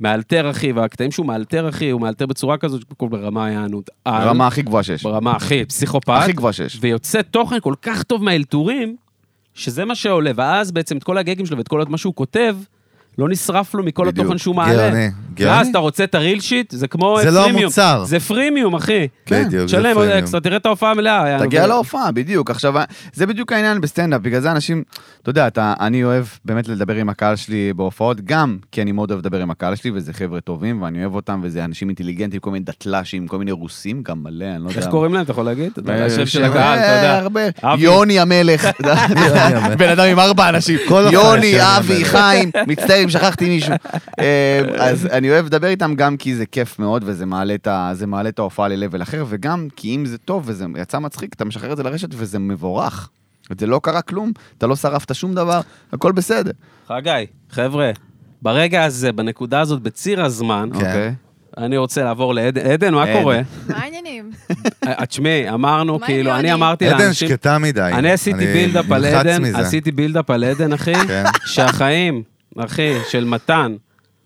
S2: מאלתר אחי, והקטעים שהוא מאלתר אחי, הוא מאלתר בצורה כזאת, כל ברמה יענות. על,
S3: הרמה הכי גבוהה שיש.
S2: ברמה הכי פסיכופת.
S3: הכי גבוהה שיש.
S2: ויוצא תוכן כל כך טוב מהאלתורים, שזה מה שעולה, ואז בעצם את כל הגגים שלו ואת כל מה שהוא כותב, לא נשרף לו מכל
S3: בדיוק.
S2: התוכן שהוא מעלה.
S1: גאוני,
S2: ואז
S1: גאוני.
S2: אתה רוצה את הריל שיט, זה כמו
S1: זה לא
S2: פרימיום.
S1: המוצר.
S2: זה פרימיום, אחי.
S1: כן. בדיוק, זה
S2: תשלם עוד
S1: פרימיום.
S2: אקסטרה, תראה את ההופעה המלאה. אה,
S3: תגיע
S2: ו-
S3: להופעה, בדיוק. עכשיו, זה בדיוק העניין בסטנדאפ, בגלל זה אנשים, אתה יודע, אתה, אני אוהב באמת לדבר עם הקהל שלי בהופעות, גם כי אני מאוד אוהב לדבר עם הקהל שלי, וזה חבר'ה טובים, ואני אוהב אותם, וזה אנשים אינטליגנטים, כל מיני דתל"שים, כל מיני רוסים, גם מלא, אני לא יודע.
S2: איך קוראים להם, אתה יכול להגיד? אתה יודע,
S3: אה,
S2: השם של
S3: שם-
S2: הקהל, אתה
S3: אה,
S2: יודע.
S3: הרבה.
S2: אבי.
S3: יוני המלך, *laughs* בן אדם עם ארבע אנשים,
S1: כל אחד יש יוני
S3: יוני, אבי,
S1: המלך.
S3: *laughs* חיים, מצטער אם שכחתי מישהו. אה, אז אני אוהב לדבר איתם גם כי זה כיף מאוד וזה מעלה את ה- זה מעלה את ההופעה ל-level אחר, וגם כי אם זה טוב וזה יצא מצחיק, אתה משחרר את זה לרשת וזה מבורך. זה לא קרה כלום, אתה לא שרפת שום דבר, הכל בסדר.
S2: חגי, חבר'ה, ברגע הזה, בנקודה הזאת, בציר הזמן,
S1: כן.
S3: אוקיי.
S2: אני רוצה לעבור לעדן. עדן, מה
S3: עדן.
S2: קורה?
S4: מה העניינים?
S2: אה, תשמעי, אמרנו,
S4: מה
S2: כאילו,
S4: עניין?
S2: אני אמרתי
S1: עדן
S2: לאנשים...
S1: שקטה מדי.
S2: אני עשיתי בילדאפ על
S1: נלחץ
S2: עדן,
S1: מזה.
S2: עשיתי בילדאפ על עדן, אחי,
S1: כן.
S2: שהחיים, אחי, של מתן,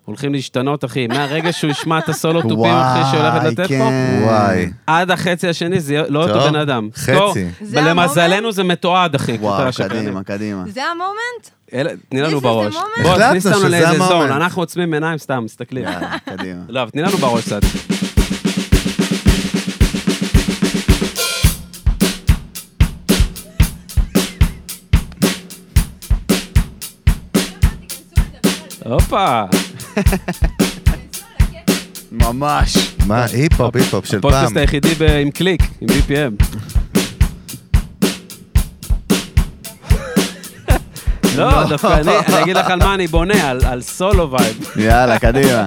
S2: הולכים להשתנות, אחי. מהרגע שהוא ישמע את הסולו תופים, אחי, שהיא הולכת
S3: וואי,
S2: לתת פה,
S3: כן.
S1: וואי.
S2: עד החצי השני זה לא
S1: טוב,
S2: אותו בן אדם.
S1: חצי.
S2: זכור,
S4: זה המומנט?
S2: למזלנו זה מתועד, אחי.
S3: וואו,
S2: קטע שקרנים.
S3: קדימה, קדימה.
S4: זה המומנט?
S2: *laughs* אלה- תני לנו
S4: This is the
S2: בראש.
S4: moment.
S2: בוא,
S1: החלטנו
S2: תכניס אותנו
S1: שזה
S2: לאיזה
S1: המומנט.
S2: זון, אנחנו עוצמים עיניים סתם, מסתכלים.
S3: יאללה, קדימה.
S2: לא, אבל תני לנו בראש קצת. הופה,
S3: *laughs* ממש.
S1: מה, היפ-הופ, היפ-הופ של פעם.
S2: הפודקאסט היחידי ב- עם קליק, עם BPM.
S1: *laughs*
S2: לא, דווקא אני, אני אגיד לך על מה אני בונה, על- על סולו וייב.
S3: יאללה, *laughs* קדימה.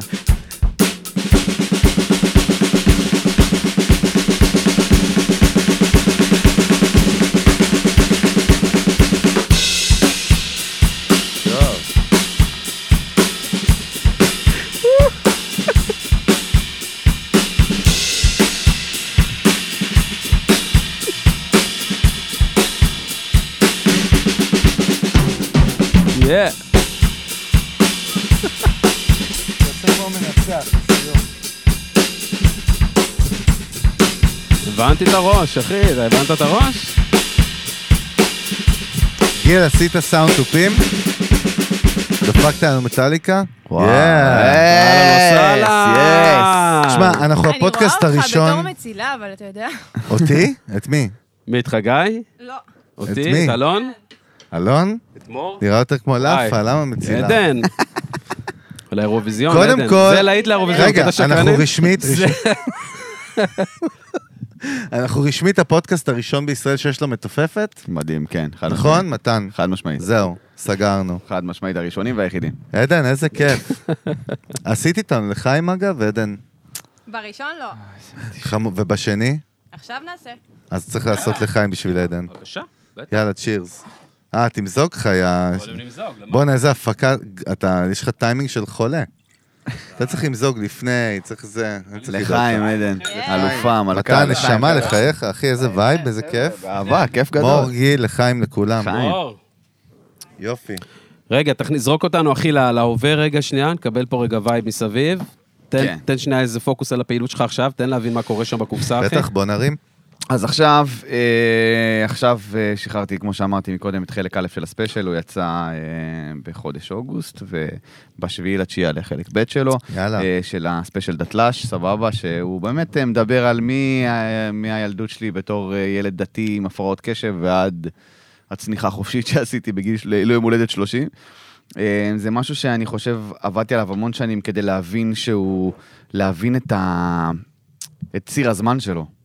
S2: Yeah. הבנתי את הראש, אחי, אתה הבנת את הראש?
S1: גיל, עשית סאונד תופים? דפקת לנו מטאליקה?
S2: אה.
S3: וואו.
S1: Yeah.
S2: לא
S3: יס, יס.
S2: וואלה.
S1: תשמע, אנחנו
S4: אני רואה
S1: הפודקאסט
S4: אותך בתור
S1: הראשון...
S4: מצילה, אבל אתה יודע...
S1: אותי? את מי?
S2: מי את חגי?
S4: *laughs* לא.
S1: את
S2: אותי?
S1: מי?
S2: את אלון?
S1: אלון?
S2: את מור?
S1: נראה יותר כמו לאפה,
S2: היי.
S1: למה מצילה? *laughs*
S2: עדן. לאירוויזיון,
S1: קודם
S2: עדן.
S1: כל-
S2: זה להיט לאירוויזיון,
S1: רגע,
S2: קטע שקרנים.
S1: אנחנו רשמית... אנחנו רשמית הפודקאסט הראשון בישראל שיש לו מתופפת,
S3: מדהים, כן. חד
S1: נכון,
S3: משמעית.
S1: מתן?
S3: חד משמעית.
S1: זהו, סגרנו.
S3: חד משמעית
S1: *laughs*
S3: הראשונים והיחידים.
S1: עדן, איזה כיף. עשית איתנו לחיים אגב, עדן.
S4: בראשון לא.
S1: חמו- ובשני?
S4: עכשיו נעשה.
S1: אז צריך לעשות לחיים בשביל עדן.
S2: בבקשה, בטח.
S1: יאללה, צ'ירס. אה, תמזוג חיה.
S2: יכולים למזוג, למה?
S1: בואנה, איזה הפקה, אתה, יש לך טיימינג של חולה. אתה צריך למזוג לפני, צריך זה. אני צריך לדאוג.
S3: לחיים, עדן. אלופה, מלכה.
S1: מתן, נשמה לחייך, אחי, איזה וייב, איזה כיף.
S3: אהבה, כיף
S1: מור
S3: גדול.
S1: גיל, לחיים לכולם.
S3: חיים. אוקיי.
S2: אור.
S1: יופי.
S2: רגע, תכניס, זרוק אותנו, אחי, לה- להווה רגע שנייה, נקבל פה רגע וייב מסביב. תן,
S3: כן.
S2: תן שנייה איזה פוקוס על הפעילות שלך עכשיו, תן להבין מה קורה שם בקופסה, אחי.
S1: בטח, בוא נרים.
S3: אז עכשיו, אה, עכשיו אה, שחררתי, כמו שאמרתי מקודם, את חלק א' של הספיישל, הוא יצא אה, בחודש אוגוסט, ובשביעי לתשיעי עלה חלק ב' שלו,
S1: יאללה.
S3: אה, של הספיישל דתל"ש, סבבה, שהוא באמת אה, מדבר על מי, אה, מהילדות שלי בתור אה, ילד דתי עם הפרעות קשב ועד הצניחה החופשית שעשיתי בגיל, של- ליום הולדת 30. אה, זה משהו שאני חושב, עבדתי עליו המון שנים כדי להבין שהוא, להבין את ה... את ציר הזמן שלו.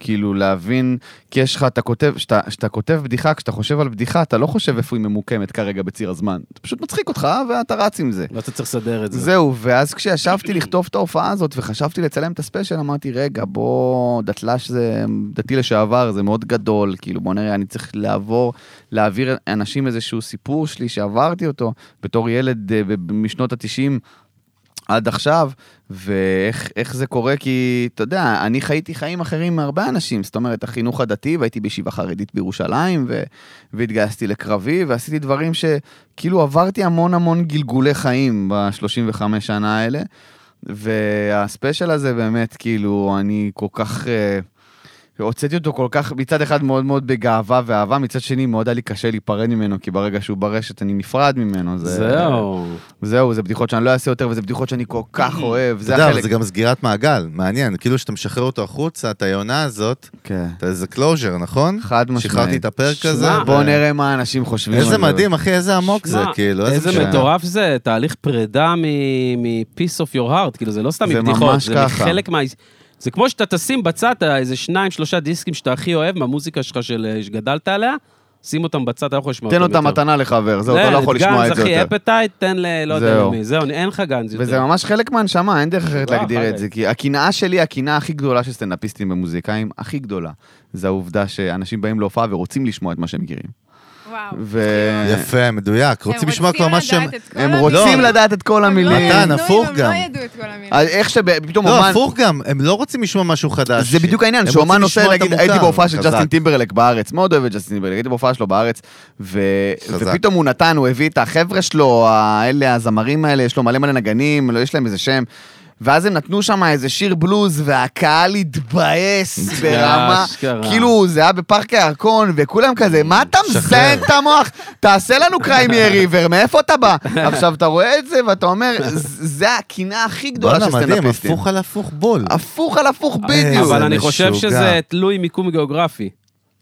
S3: כאילו להבין, כי יש לך, אתה כותב, כשאתה כשאתה כותב בדיחה, כשאתה חושב על בדיחה, אתה לא חושב איפה היא ממוקמת כרגע בציר הזמן. זה פשוט מצחיק אותך ואתה רץ עם זה.
S2: לא, אתה צריך לסדר את זה.
S3: זהו, ואז כשישבתי לכתוב את ההופעה הזאת וחשבתי לצלם את הספיישל, אמרתי, רגע, בוא, דתל"ש זה דתי לשעבר, זה מאוד גדול, כאילו, בוא נראה, אני צריך לעבור, להעביר אנשים איזשהו סיפור שלי שעברתי אותו בתור ילד אה, ב- משנות התשעים. עד עכשיו, ואיך איך זה קורה, כי אתה יודע, אני חייתי חיים אחרים מהרבה אנשים, זאת אומרת, החינוך הדתי, והייתי בישיבה חרדית בירושלים, ו... והתגייסתי לקרבי, ועשיתי דברים שכאילו עברתי המון המון גלגולי חיים ב-35 שנה האלה, והספיישל הזה באמת, כאילו, אני כל כך... אה, הוצאתי אותו כל כך, מצד אחד מאוד מאוד בגאווה ואהבה, מצד שני מאוד היה לי קשה להיפרד ממנו, כי ברגע שהוא ברשת אני נפרד ממנו. זה-
S2: זהו.
S3: זהו, זה בדיחות שאני לא אעשה יותר, וזה בדיחות שאני כל כך אוהב,
S1: אתה
S3: זה
S1: יודע, אבל זה
S3: החלק.
S1: גם סגירת מעגל, מעניין. כאילו שאתה משחרר אותו החוצה, את היונה הזאת,
S3: כן.
S1: אתה- זה קלוז'ר, נכון?
S3: חד משמעית.
S1: שחררתי את הפרק
S2: שמע,
S1: הזה.
S2: זה-
S3: בואו
S1: ו-
S3: נראה מה האנשים חושבים על זה.
S1: איזה מדהים, אחי, איזה עמוק זה,
S2: שמע,
S1: כאילו.
S2: איזה
S1: משנה.
S2: מטורף זה, תהליך פרידה מ-peace of your heart, כאילו זה לא סתם
S3: זה
S2: מבדיחות,
S3: ממש
S2: זה
S3: ככה.
S2: חלק מה... זה כמו שאתה תשים בצד אה, איזה שניים, שלושה דיסקים שאתה הכי אוהב מהמוזיקה שלך של- אה, שגדלת עליה, שים אותם בצד, אתה לא יכול לשמוע
S3: תן
S2: אותם
S3: אותה
S2: יותר.
S3: מתנה לחבר, זהו, אתה לא יכול לשמוע את זה
S2: גנז,
S3: יותר.
S2: אחי, אפטייט, תן ל... לא יודע
S3: זהו.
S2: למי. זהו, אין לך גנז יותר.
S3: וזה ממש חלק מהנשמה, אין דרך אחרת
S2: וואו,
S3: להגדיר
S2: חגי.
S3: את זה, כי הקנאה שלי, הקנאה הכי גדולה של סטנדאפיסטים ומוזיקאים, הכי גדולה, זה העובדה שאנשים באים להופעה ורוצים לשמוע את מה שהם מכירים.
S4: וואו.
S3: ו-
S1: יפה, מדויק. רוצים לשמוע כבר מה שהם...
S4: לדעת את כל
S3: הם
S4: המילים.
S3: רוצים
S1: לא.
S3: לדעת את כל
S4: הם לא
S3: המילים.
S1: מתן,
S4: ידעו,
S1: הפוך
S4: הם
S1: גם.
S4: לא ידעו את כל המילים.
S3: אז איך שפתאום
S1: לא,
S3: אומן...
S1: הפוך גם, הם לא רוצים לשמוע משהו חדש.
S3: זה בדיוק העניין,
S1: הם
S3: שאומן
S1: רוצים
S3: עושה,
S1: לשמוע את
S3: נגיד,
S1: המוכר.
S3: הייתי בהופעה של
S1: חזק.
S3: ג'סטין טימברלק בארץ, מאוד אוהב את ג'סטין טימברלק, הייתי בהופעה שלו בארץ, ו-
S1: חזק.
S3: ופתאום הוא נתן, הוא הביא את החבר'ה שלו, האלה, הזמרים האלה, יש לו מלא מלא נגנים, לא, יש להם איזה שם. ואז הם נתנו שם איזה שיר בלוז, והקהל התבאס ברמה,
S2: אשכרה.
S3: כאילו זה היה בפארק הירקון, וכולם כזה, מה אתה מזיין את המוח? תעשה לנו
S1: *laughs*
S3: קריימי ריבר, מאיפה אתה בא? עכשיו, אתה רואה את זה, ואתה אומר, "ז- זה הקנאה הכי גדולה של
S1: וואלה, מדהים,
S3: סטנדאפיסטים.
S1: הפוך אה, על הפוך בול.
S3: הפוך על הפוך בדיוק.
S1: זה
S2: אבל אני חושב
S1: משוגע.
S2: שזה תלוי מיקום גיאוגרפי.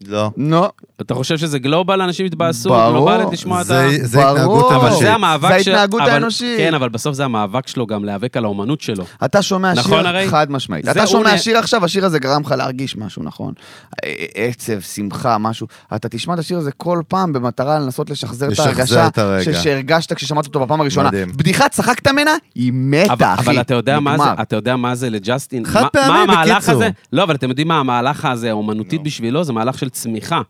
S1: לא.
S3: נו,
S2: אתה חושב שזה גלובל, אנשים יתבאסו,
S3: ברור.
S2: גלובלית לשמוע את ה...
S1: זה זה
S3: ברור.
S1: התנהגות
S3: אבל
S2: אבל
S1: אנושית.
S2: זה המאבק
S3: זה
S2: של-
S3: ההתנהגות
S2: אבל-
S3: האנושית.
S2: כן, אבל בסוף זה המאבק שלו גם להיאבק על האומנות שלו.
S3: אתה שומע
S2: נכון,
S3: שיר
S2: הרי?
S3: חד משמעית.
S2: זה
S3: אתה
S2: הוא
S3: שומע
S2: נ-
S3: שיר עכשיו, השיר הזה גרם לך להרגיש משהו, נכון? ע- עצב, שמחה, משהו. אתה תשמע את השיר הזה כל פעם במטרה לנסות לשחזר את
S1: לשחזר
S3: ההרגשה
S1: את הרגע.
S3: ש- שהרגשת כששמעת אותו בפעם הראשונה.
S1: מדהים.
S3: בדיחה, צחקת ממנה, היא מתה,
S2: אבל,
S3: אחי.
S2: אבל אתה יודע, מה
S3: נגמר.
S2: זה, אתה יודע מה זה לג'סטין?
S1: חד
S2: מה-
S1: פעמי,
S2: מה המהלך
S1: בקיצור.
S2: הזה? לא, אבל אתם יודעים מה המהלך הזה, האומנותית בשבילו, זה מהלך של צמיחה.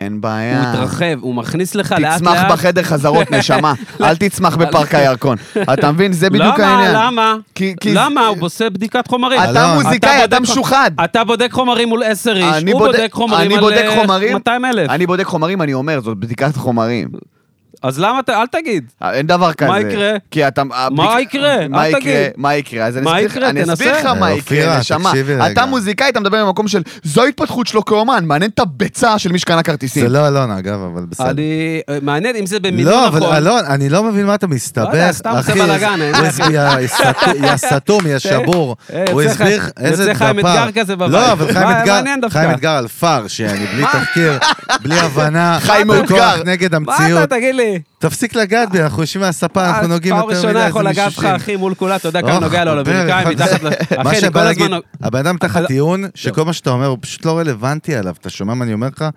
S3: אין
S2: הוא
S3: בעיה.
S2: מתרחב, הוא מכניס לך לאט לאט.
S3: אה. תצמח בחדר
S2: *laughs*
S3: חזרות, נשמה. אל תצמח בפארק הירקון. אתה מבין? זה בדיוק העניין.
S2: למה? למה?
S3: כי- כי-
S2: למה? הוא עושה בדיקת חומרים.
S3: אתה
S1: אלון,
S3: מוזיקאי, אתה
S2: בודק-
S3: משוחד.
S2: אתה בודק חומרים מול עשר איש,
S3: אני
S2: הוא
S3: בודק-
S2: בודק חומרים
S3: אני
S2: על
S3: בודק חומרים?
S2: 200 אלף.
S3: אני בודק חומרים, אני אומר, זאת בדיקת חומרים.
S2: אז למה אתה, אל תגיד.
S3: אה, אין דבר כזה.
S2: יקרה?
S3: כי אתה... הבדיק-
S2: יקרה?
S3: מה
S2: אל
S3: יקרה?
S2: תגיד.
S3: מה יקרה? אז אני
S2: מה
S3: אסביר לך-
S2: יקרה?
S3: אני אסביר
S2: תנסה.
S3: לך מה
S1: אה,
S3: יקרה,
S1: אופירה,
S3: נשמה.
S1: תקשיבי רגע.
S3: אתה מוזיקאי, אתה מדבר ממקום של זו ההתפתחות שלו כאומן, מעניין את הביצה של מי שקנה
S1: זה
S3: כרטיסים.
S1: לא אלון, אגב, אבל בסדר.
S2: אני... אה, מעניין אם זה במילים
S1: לא,
S2: נכון.
S1: אבל אלון, אני לא מבין מה אתה
S2: לא יודע,
S1: מסתבך,
S2: סתם עושה
S1: אחי.
S2: בלאגן, אין
S1: הוא הסביר, יא
S2: *laughs*
S1: סת- יא סתום, יא שבור.
S2: אה,
S1: הוא
S2: יוצא
S1: הסביר
S2: חי-
S1: איזה
S2: יוצא חיים
S1: דפר.
S2: אתגר כזה בבית.
S1: לא, אבל חיים
S2: מה-
S1: אתגר,
S2: מעניין דווקא.
S1: חיים אתגר על פאר, שאני בלי תחקיר,
S2: *laughs*
S1: בלי הבנה.
S3: חיים מאותגר.
S1: בכוח נגד
S2: מה
S1: המציאות.
S2: אתה, תגיד לי? אה,
S1: תפסיק לגעת בי, אנחנו יושבים מהספה, אנחנו נוגעים יותר מדי,
S2: פעם
S1: איזה
S2: ראשונה
S1: מישושים.
S2: יכול לגעת לך, אחי, מול כולה, אתה יודע כמה
S1: אוח,
S2: נוגע לו
S1: לא, דבר,
S2: לברכיים,
S1: אחד-
S2: מתחת ל...
S1: מה
S2: אחי, אני כל
S1: שבא
S2: הזמן...
S1: להגיד, הבן אדם תחת טיעון, שכל מה שאתה אומר הוא פשוט לא רלוונטי עליו, אתה שומע מה אני אומר לך? הוא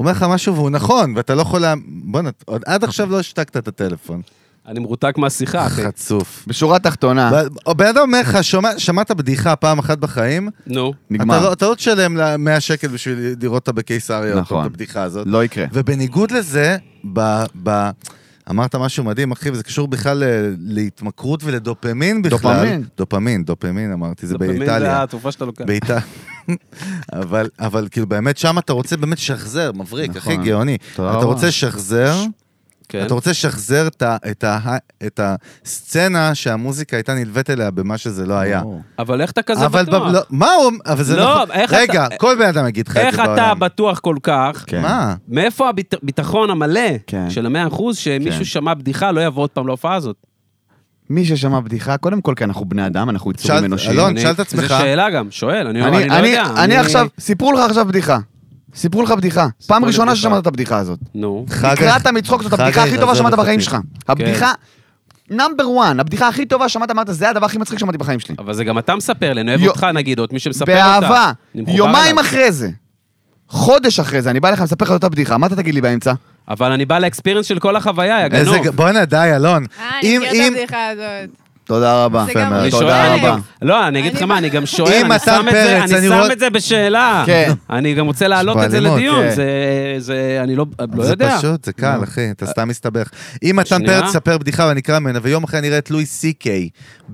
S1: אומר לך משהו והוא נכון, ואתה לא יכול לה... בוא'נה, עוד עד עכשיו לא השתקת את הטלפון.
S2: אני מרותק מהשיחה, לא, אחי.
S1: חצוף.
S3: בשורה תחתונה,
S1: לא- הבן אדם אומר לך, "שומע- שמעת בדיחה פעם אחת בחיים,
S2: נו.
S3: נגמר.
S1: אתה לא- אתה לא תשלם לה 100 שקל בשביל לראות אותה בקיסריה, עוד פעם,
S3: נכון.
S1: את הבדיחה הזאת.
S3: לא יקרה.
S1: ובניגוד לזה, ב... ב... אמרת משהו מדהים, אחי, וזה קשור בכלל ל- להתמכרות ולדופמין בכלל.
S3: דופמין.
S1: דופמין, דופמין אמרתי, זה
S2: דופמין
S1: באיטליה.
S2: זה כן. התרופה שאתה לוקח.
S1: בעיטה. *laughs* אבל, אבל כאילו באמת שם אתה רוצה באמת לשחזר, מבריק,
S3: נכון.
S1: אחי גאוני.
S3: תודה
S1: אתה
S3: רבה.
S1: רוצה לשחזר,
S2: כן.
S1: אתה רוצה לשחזר את, ה, את, ה, את הסצנה שהמוזיקה הייתה נלווית אליה במה שזה לא היה.
S3: ברור.
S2: אבל איך אתה כזה
S1: אבל
S2: בטוח?
S1: בב- לא- מה הוא, אבל זה
S2: לא,
S1: נכון.
S2: איך
S1: רגע,
S2: אתה-
S1: כל בן אדם יגיד לך את
S2: איך
S1: זה בעולם.
S2: אתה בטוח כל כך?
S3: כן.
S1: מה?
S2: מאיפה הביטחון המלא
S3: כן.
S2: של המאה אחוז
S3: כן.
S2: שמישהו שמע בדיחה לא יבוא עוד פעם להופעה הזאת?
S3: מי ששמע בדיחה, קודם כל, כי אנחנו בני אדם, אנחנו יצורים
S1: שאל-
S3: אנושיים.
S1: אלון,
S2: אני-
S1: שאל נכון, את עצמך.
S2: זו שאלה גם, שואל, אני
S3: אני-
S2: אני לא
S3: אני-
S2: יודע.
S3: אני עכשיו, סיפרו לך עכשיו בדיחה. סיפרו לך בדיחה.
S2: סיפרו
S3: פעם
S2: לי
S3: ראשונה
S2: בדיחה.
S3: ששמעת את הבדיחה הזאת.
S2: נו.
S1: חג-
S3: נקרעת מצחוק, זאת
S1: חג
S3: הבדיחה הכי טובה
S1: עזוב
S3: שמעת
S1: אותי.
S3: בחיים שלך. הבדיחה, נאמבר 1, הבדיחה הכי טובה שמעת, אמרת, זה הדבר הכי מצחיק שמעתי בחיים שלי.
S2: אבל זה גם אתה מספר לי, אני אוהב
S3: יו-
S2: אותך נגיד, או את מי שמספר אותה.
S3: באהבה.
S2: אני מחובר
S3: יומיים
S2: אליו.
S3: אחרי זה, חודש אחרי זה, אני בא אליך מספר לך את אותה בדיחה, מה אתה תגיד לי באמצע?
S2: אבל אני בא לאקספיריינס של כל החוויה, יא
S1: איזה... ג-
S2: גנוב.
S1: בואנה, די, אלון.
S4: אה, אני
S1: אם,
S4: מכיר את
S1: אם,
S4: הבדיחה הזאת.
S3: תודה רבה.
S4: זה גם
S1: מאוד.
S2: אני
S4: ראשון.
S2: שואל,
S3: תודה
S2: אני
S3: רבה.
S2: גם- לא, אני אגיד לך
S4: אני-
S2: מה, אני גם שואל,
S1: אם
S2: אני
S1: מתן
S2: שם את זה,
S1: פרץ, אני
S2: אני
S1: רואה-
S2: שם את זה בשאלה.
S3: כן.
S2: אני גם רוצה להעלות
S1: יש פה
S2: את זה
S1: אלימות,
S2: לדיון,
S3: כן.
S2: זה- זה, אני לא לא
S1: זה
S2: יודע.
S1: פשוט, זה קל, אחי, אתה סתם מסתבך. אם מתן
S2: שנייה.
S1: פרץ יספר בדיחה ואני אקרא ממנה, ויום אחרי אני אראה את לואי סי קיי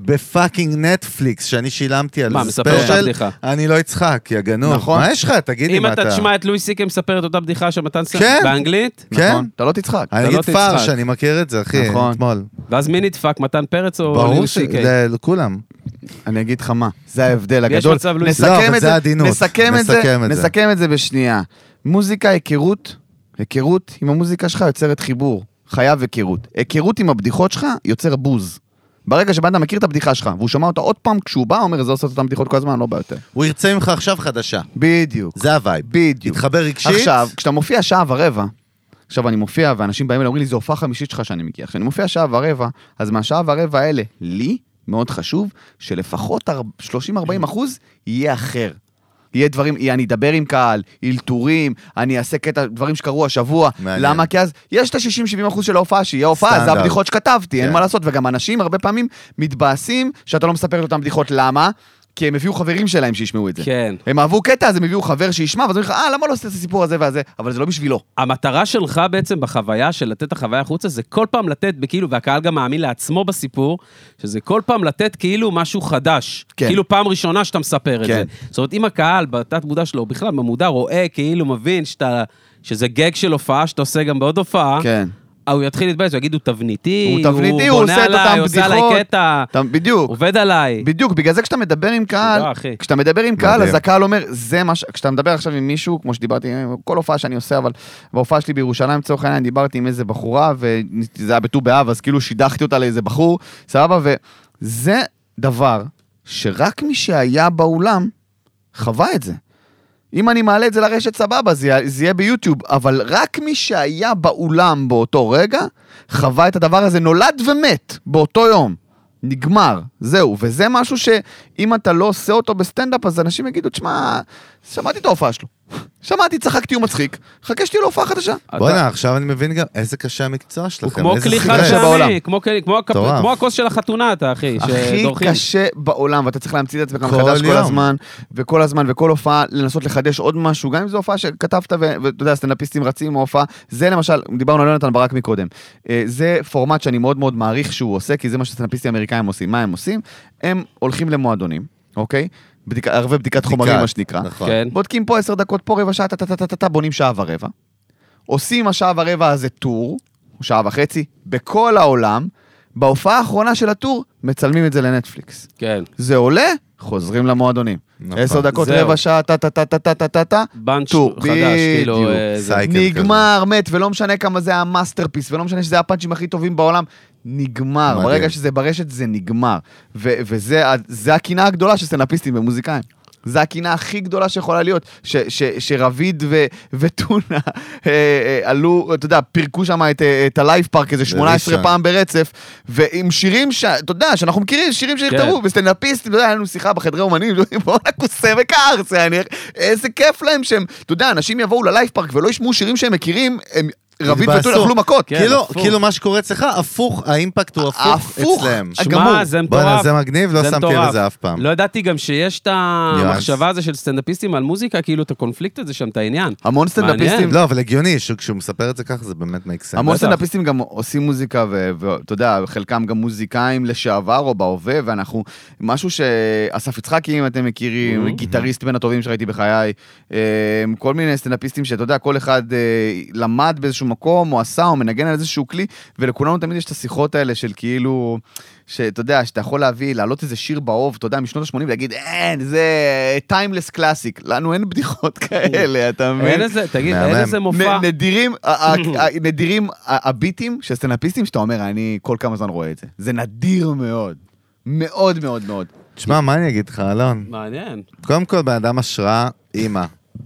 S1: בפאקינג נטפליקס, שאני שילמתי על
S2: מה,
S1: זה
S2: מספר אותה
S1: ספיישל,
S2: בדיחה.
S1: אני לא אצחק, יא גנוב.
S3: נכון.
S1: מה יש לך? תגיד לי
S2: אם
S1: מה אתה...
S2: אתה תשמע את לואי סיקי מספר את אותה בדיחה שמתן סם
S1: כן.
S2: באנגלית,
S1: כן?
S3: נכון, אתה לא תצחק.
S1: אני
S2: אתה
S1: אגיד
S2: לא
S1: פאר
S2: תצחק.
S1: שאני מכיר את זה, אחי,
S3: נכון.
S1: אתמול.
S2: ואז מי נדפק, מתן פרץ או
S1: ברור
S2: לואי
S1: ש...
S2: סיקי?
S1: זה לכולם.
S3: אני אגיד לך מה, זה ההבדל
S2: יש
S3: הגדול.
S2: מצב, לואיס.
S1: לא, אבל
S3: נסכם את
S1: זה
S3: זה,
S1: העדינות.
S3: נסכם את זה,
S1: נסכם את זה.
S3: נסכם את זה בשנייה. מוזיקה, היכרות, היכרות עם המוזיקה שלך יוצרת חיבור. חייב היכרות. היכרות עם הבדיחות שלך יוצר בוז. ברגע שבן אדם מכיר את הבדיחה שלך, והוא שומע אותה עוד פעם, כשהוא בא, הוא אומר, זה עושה את אותן בדיחות כל הזמן, לא בא יותר.
S1: הוא ירצה ממך עכשיו חדשה.
S3: בדיוק.
S1: זה הווייב.
S3: בדיוק.
S1: התחבר רגשית.
S3: עכשיו, כשאתה מופיע שעה ורבע, עכשיו אני מופיע, ואנשים באים אליי, אומרים לי, זו הופעה חמישית שלך שאני מגיע. כשאני מופיע שעה ורבע, אז מהשעה ורבע האלה, לי מאוד חשוב שלפחות אר- 30-40 אחוז יהיה אחר. יהיה דברים, יהיה- אני אדבר עם קהל, אלתורים, אני אעשה קטע, דברים שקרו השבוע.
S1: מעניין.
S3: למה? כי אז יש את ה-60-70 אחוז של ההופעה, שהיא ההופעה, זה
S1: סטנדרט.
S3: הבדיחות שכתבתי, אין
S1: כן.
S3: מה לעשות. וגם אנשים הרבה פעמים מתבאסים שאתה לא מספר את אותן בדיחות. למה? כי הם הביאו חברים שלהם שישמעו את זה.
S2: כן.
S3: הם אהבו קטע, אז הם הביאו חבר שישמע, ואז אומרים לך, אה, למה לא עשית את הסיפור הזה והזה? אבל זה לא בשבילו.
S2: המטרה שלך בעצם בחוויה של לתת את החוויה החוצה, זה כל פעם לתת, כאילו, והקהל גם מאמין לעצמו בסיפור, שזה כל פעם לתת כאילו משהו חדש.
S3: כן.
S2: כאילו פעם ראשונה שאתה מספר את
S3: כן.
S2: זה. זאת אומרת, אם הקהל, בתת מודע שלו, או בכלל במודע, רואה, כאילו, מבין שאתה, שזה גג של הופעה, שאתה עושה גם בעוד הופעה,
S3: כן.
S2: אה, הוא יתחיל להתבאס, הוא יגיד, הוא תבניתי,
S3: הוא תבניתי, הוא
S2: בונה
S3: עושה את
S2: עליי,
S3: אותם
S2: הוא עושה
S3: בדיחות."
S2: עליי קטע,
S3: אתה- בדיוק.
S2: עובד עליי.
S3: בדיוק, בגלל זה כשאתה מדבר עם קהל,
S2: תודה, אחי.
S3: כשאתה מדבר עם קהל, אז
S1: מדהים.
S3: הקהל אומר, זה מה ש... כשאתה מדבר עכשיו עם מישהו, כמו שדיברתי, כל הופעה שאני עושה, אבל בהופעה שלי בירושלים, לצורך העניין, דיברתי עם איזה בחורה, וזה היה בט"ו באב, אז כאילו שידכתי אותה לאיזה בחור, סבבה, וזה דבר שרק מי שהיה באולם חווה את זה. אם אני מעלה את זה לרשת, סבבה, זה, יהיה- זה יהיה ביוטיוב, אבל רק מי שהיה באולם באותו רגע, חווה את הדבר הזה, נולד ומת באותו יום. נגמר, זהו. וזה משהו שאם אתה לא עושה אותו בסטנדאפ, אז אנשים יגידו, תשמע, שמעתי את ההופעה שלו. *laughs* שמעתי, צחקתי, הוא מצחיק, חכה שתהיה לו הופעה חדשה.
S1: בואנה, עכשיו אני מבין גם איזה קשה המקצוע
S2: הוא
S1: שלכם,
S2: כמו
S1: איזה
S2: כלי
S1: סטרס.
S3: קשה בעולם.
S2: חדשני, כמו כלי- כמו הכפ-
S1: מטורף.
S2: כמו הכוס של החתונה אתה, אחי,
S3: הכי
S2: שדורכים.
S3: קשה בעולם, ואתה צריך להמציא את עצמך
S1: כל
S3: מחדש כל
S1: יום.
S3: הזמן, וכל הזמן, וכל הופעה, לנסות לחדש עוד משהו, גם אם זו הופעה שכתבת, ו- ואתה יודע, סטנדאפיסטים רצים עם ההופעה, זה למשל, דיברנו על יונתן ברק מקודם, אה, זה פורמט שאני מאוד מאוד מעריך שהוא עושה, כי זה מה שסטנדאפיסטים אמריקאים עושים. מה הם עושים? הם הולכים למועדונים, אוקיי? בדיקה- הרבה בדיקת חומרים, מה שנקרא.
S1: נכון.
S2: כן.
S3: בודקים פה עשר דקות, פה רבע שעה, טה-טה-טה-טה, בונים שעה ורבע. עושים השעה ורבע הזה טור, או שעה וחצי, בכל העולם. בהופעה האחרונה של הטור, מצלמים את זה לנטפליקס.
S2: כן.
S3: זה עולה, חוזרים למועדונים.
S1: נכון.
S3: עשר דקות,
S2: זהו.
S3: רבע שעה, טה-טה-טה-טה-טה-טה.
S2: בנץ'
S3: טור,
S2: חדש, כאילו...
S3: בדיוק.
S2: אה, זה-
S1: סייקל כזה.
S3: נגמר, מת, ולא משנה כמה זה המאסטרפיס, ולא משנה שזה הפאנצ'ים הכי טובים בעולם, נגמר.
S1: מדהים.
S3: ברגע שזה ברשת, זה נגמר. ו- וזה ה- זה הקינה הגדולה של סטנאפיסטים ומוזיקאים. זה הקינה הכי גדולה שיכולה להיות, ש- ש- שרביד ו- וטונה אה, אה, עלו, אתה יודע, פירקו שם את, אה, את הלייב פארק איזה 18
S1: בראשון.
S3: פעם ברצף, ועם שירים, ש- אתה יודע, שאנחנו מכירים, שירים שנכתבו, וסטנדאפיסטים, אתה יודע, היה לנו שיחה בחדרי אומנים, *laughs* בואנה כוסה וקרס, יעני, איך- איזה כיף להם שהם, אתה יודע, אנשים יבואו ללייב פארק ולא ישמעו שירים שהם מכירים, הם רביד
S1: התבאסו.
S3: וטונה אכלו מכות.
S2: כן,
S1: כאילו,
S2: הפוך.
S1: כאילו מה שקורה אצלך, הפוך, האימפקט הוא הפוך
S3: הפוך.
S1: אצלם.
S3: גמור.
S2: שמע, זה מטורף.
S1: בואנה, זה מגניב, לא
S2: זה
S1: שמתי
S2: מטורף.
S1: על זה אף פעם.
S2: לא ידעתי גם שיש את המחשבה הזו של סטנדאפיסטים על מוזיקה, כאילו את הקונפליקט הזה שם, את העניין.
S3: המון סטנדאפיסטים,
S2: מעניין.
S1: לא, אבל הגיוני, שכשהוא מספר את זה ככה, זה באמת make sense.
S3: המון
S2: בטח.
S3: סטנדאפיסטים גם עושים מוזיקה, ו- ואתה יודע, חלקם גם מוזיקאים לשעבר או בהווה, ואנחנו, משהו שאסף יצחקי, אם אתם
S2: Mm-hmm.
S3: מכירים, גיטריסט בין הטובים שראיתי בחיי, אה, כל מיני סטנדאפיסטים שאתה יודע, כל אחד אה, למד באיזשהו מקום, או עשה, או מנגן על איזשהו כלי, ולכולנו תמיד יש את השיחות האלה של כאילו, שאתה יודע, שאתה יכול להביא, להעלות איזה שיר באוב, אתה יודע, משנות ה-80, ולהגיד, אין, זה טיימלס קלאסיק. לנו אין בדיחות כאלה, אתה מבין?
S2: אין איזה, תגיד, אין
S1: מהמם.
S2: איזה מופע.
S3: נ- נדירים, ה- ה- ה- נדירים ה- הביטים של סטנאפיסטים שאתה אומר, אני כל כמה זמן רואה את זה. זה נדיר מאוד. מאוד מאוד מאוד.
S1: תשמע, מה אני אגיד לך, אלון?
S2: מעניין.
S1: קודם כל, בן אדם השראה, אימא.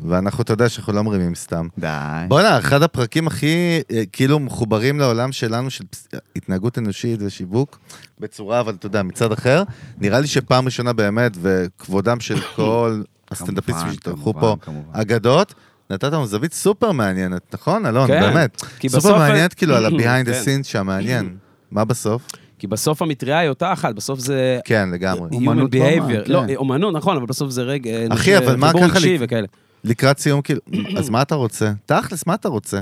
S1: ואנחנו, אתה יודע שאנחנו לא מרימים סתם.
S3: די.
S1: בואנה, אחד הפרקים הכי אה, כאילו מחוברים לעולם שלנו, של פס- התנהגות אנושית ושיווק, בצורה, אבל אתה יודע, מצד אחר, נראה לי שפעם ראשונה באמת, וכבודם
S3: *coughs*
S1: של כל הסטנדאפיסטים
S3: כמובן,
S1: שהתארחו פה,
S3: כמובן, כמובן.
S1: אגדות, נתת לנו זווית סופר מעניינת, נכון, אלון?
S2: כן,
S1: באמת.
S2: כי בסוף-
S1: סופר מעניינת כאילו
S2: *coughs*
S1: על ה-behind
S2: כן.
S1: the scenes שם, מעניין. מה בסוף?
S2: כי בסוף המטריה היא אותה אחת, בסוף זה...
S1: כן,
S3: *coughs*
S1: לגמרי.
S2: human
S3: אומנות במה,
S2: behavior.
S3: כן.
S2: לא, אומנות, נכון, אבל בסוף זה רגע...
S1: אחי, אבל מה
S2: חיבור
S1: ככה
S2: רגשי
S1: לק-
S2: וכאלה.
S1: לקראת סיום, כאילו, *coughs* אז מה אתה רוצה? תכלס, מה אתה רוצה?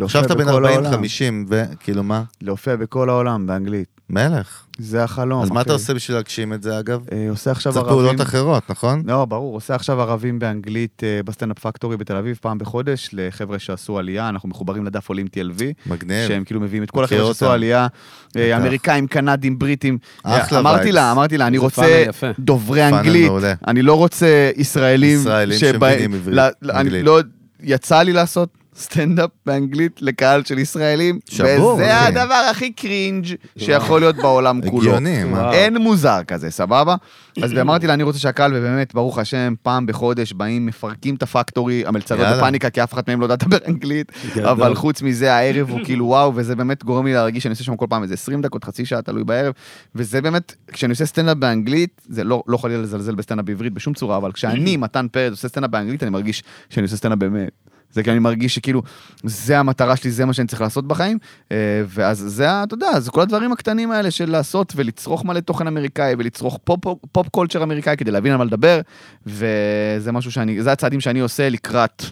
S1: עכשיו אתה בן
S3: בכל
S1: 40-50,
S3: העולם.
S1: וכאילו מה?
S3: להופיע בכל העולם באנגלית.
S1: מלך.
S3: זה החלום.
S1: אז מה אתה
S3: אחי.
S1: עושה בשביל להגשים את זה, אגב?
S3: אה, עושה עכשיו
S1: צריך
S3: ערבים.
S1: פעולות אחרות, נכון?
S3: לא, ברור, עושה עכשיו ערבים באנגלית אה, בסטנדאפ פקטורי בתל אביב פעם בחודש לחבר'ה שעשו עלייה, אנחנו מחוברים לדף עולים TLV,
S1: מגניב.
S3: שהם כאילו מביאים את כל
S1: כן. מכיר
S3: החבר'ה שעשו
S1: אותם.
S3: עלייה, אה,
S1: בטח.
S3: אמריקאים, קנדים, בריטים.
S1: אחלה
S3: אה, אמרתי
S1: vibes.
S3: לה, אמרתי לה, אני
S2: זה
S3: רוצה
S2: פאנל יפה.
S3: דוברי
S1: פאנל
S3: אנגלית,
S1: מעולה.
S3: אני לא רוצה ישראלים
S1: ישראלים
S3: שבא-
S1: שמבינים עברית,
S3: לא- לא, אני
S1: אנגלית.
S3: לא- יצא לי לעשות סטנדאפ באנגלית לקהל של ישראלים,
S1: שבור,
S3: וזה
S1: אחי.
S3: הדבר הכי קרינג' שיכול להיות בעולם כולו.
S1: הגיוני, מה?
S2: וואו.
S3: אין מוזר כזה, סבבה? אז אמרתי לה, אני רוצה שהקהל, ובאמת, ברוך השם, פעם בחודש באים, מפרקים את הפקטורי, המלצרות
S1: יאללה.
S3: בפאניקה, כי אף אחת מהם לא יודעת לדבר אנגלית, אבל חוץ מזה, הערב הוא כאילו וואו, וזה באמת גורם לי להרגיש שאני עושה שם כל פעם איזה 20 דקות, חצי שעה, תלוי בערב, וזה באמת, כשאני עושה סטנדאפ באנגלית, זה לא לא חלילה לזלזל בסטנדאפ בעברית בשום צורה, אבל כשאני, מתן פרץ, עושה סטנדאפ באנגלית, אני מרגיש שאני עושה סטנדאפ באמת. זה כי אני מרגיש שכאילו, זה המטרה שלי, זה מה שאני צריך לעשות בחיים. אה, ואז זה, ה- אתה יודע, זה כל הדברים הקטנים האלה של לעשות ולצרוך מלא תוכן אמריקאי ולצרוך פופ- פופ קולצ'ר אמריקאי כדי להבין על מה לדבר, וזה משהו שאני, זה הצעדים שאני עושה לקראת.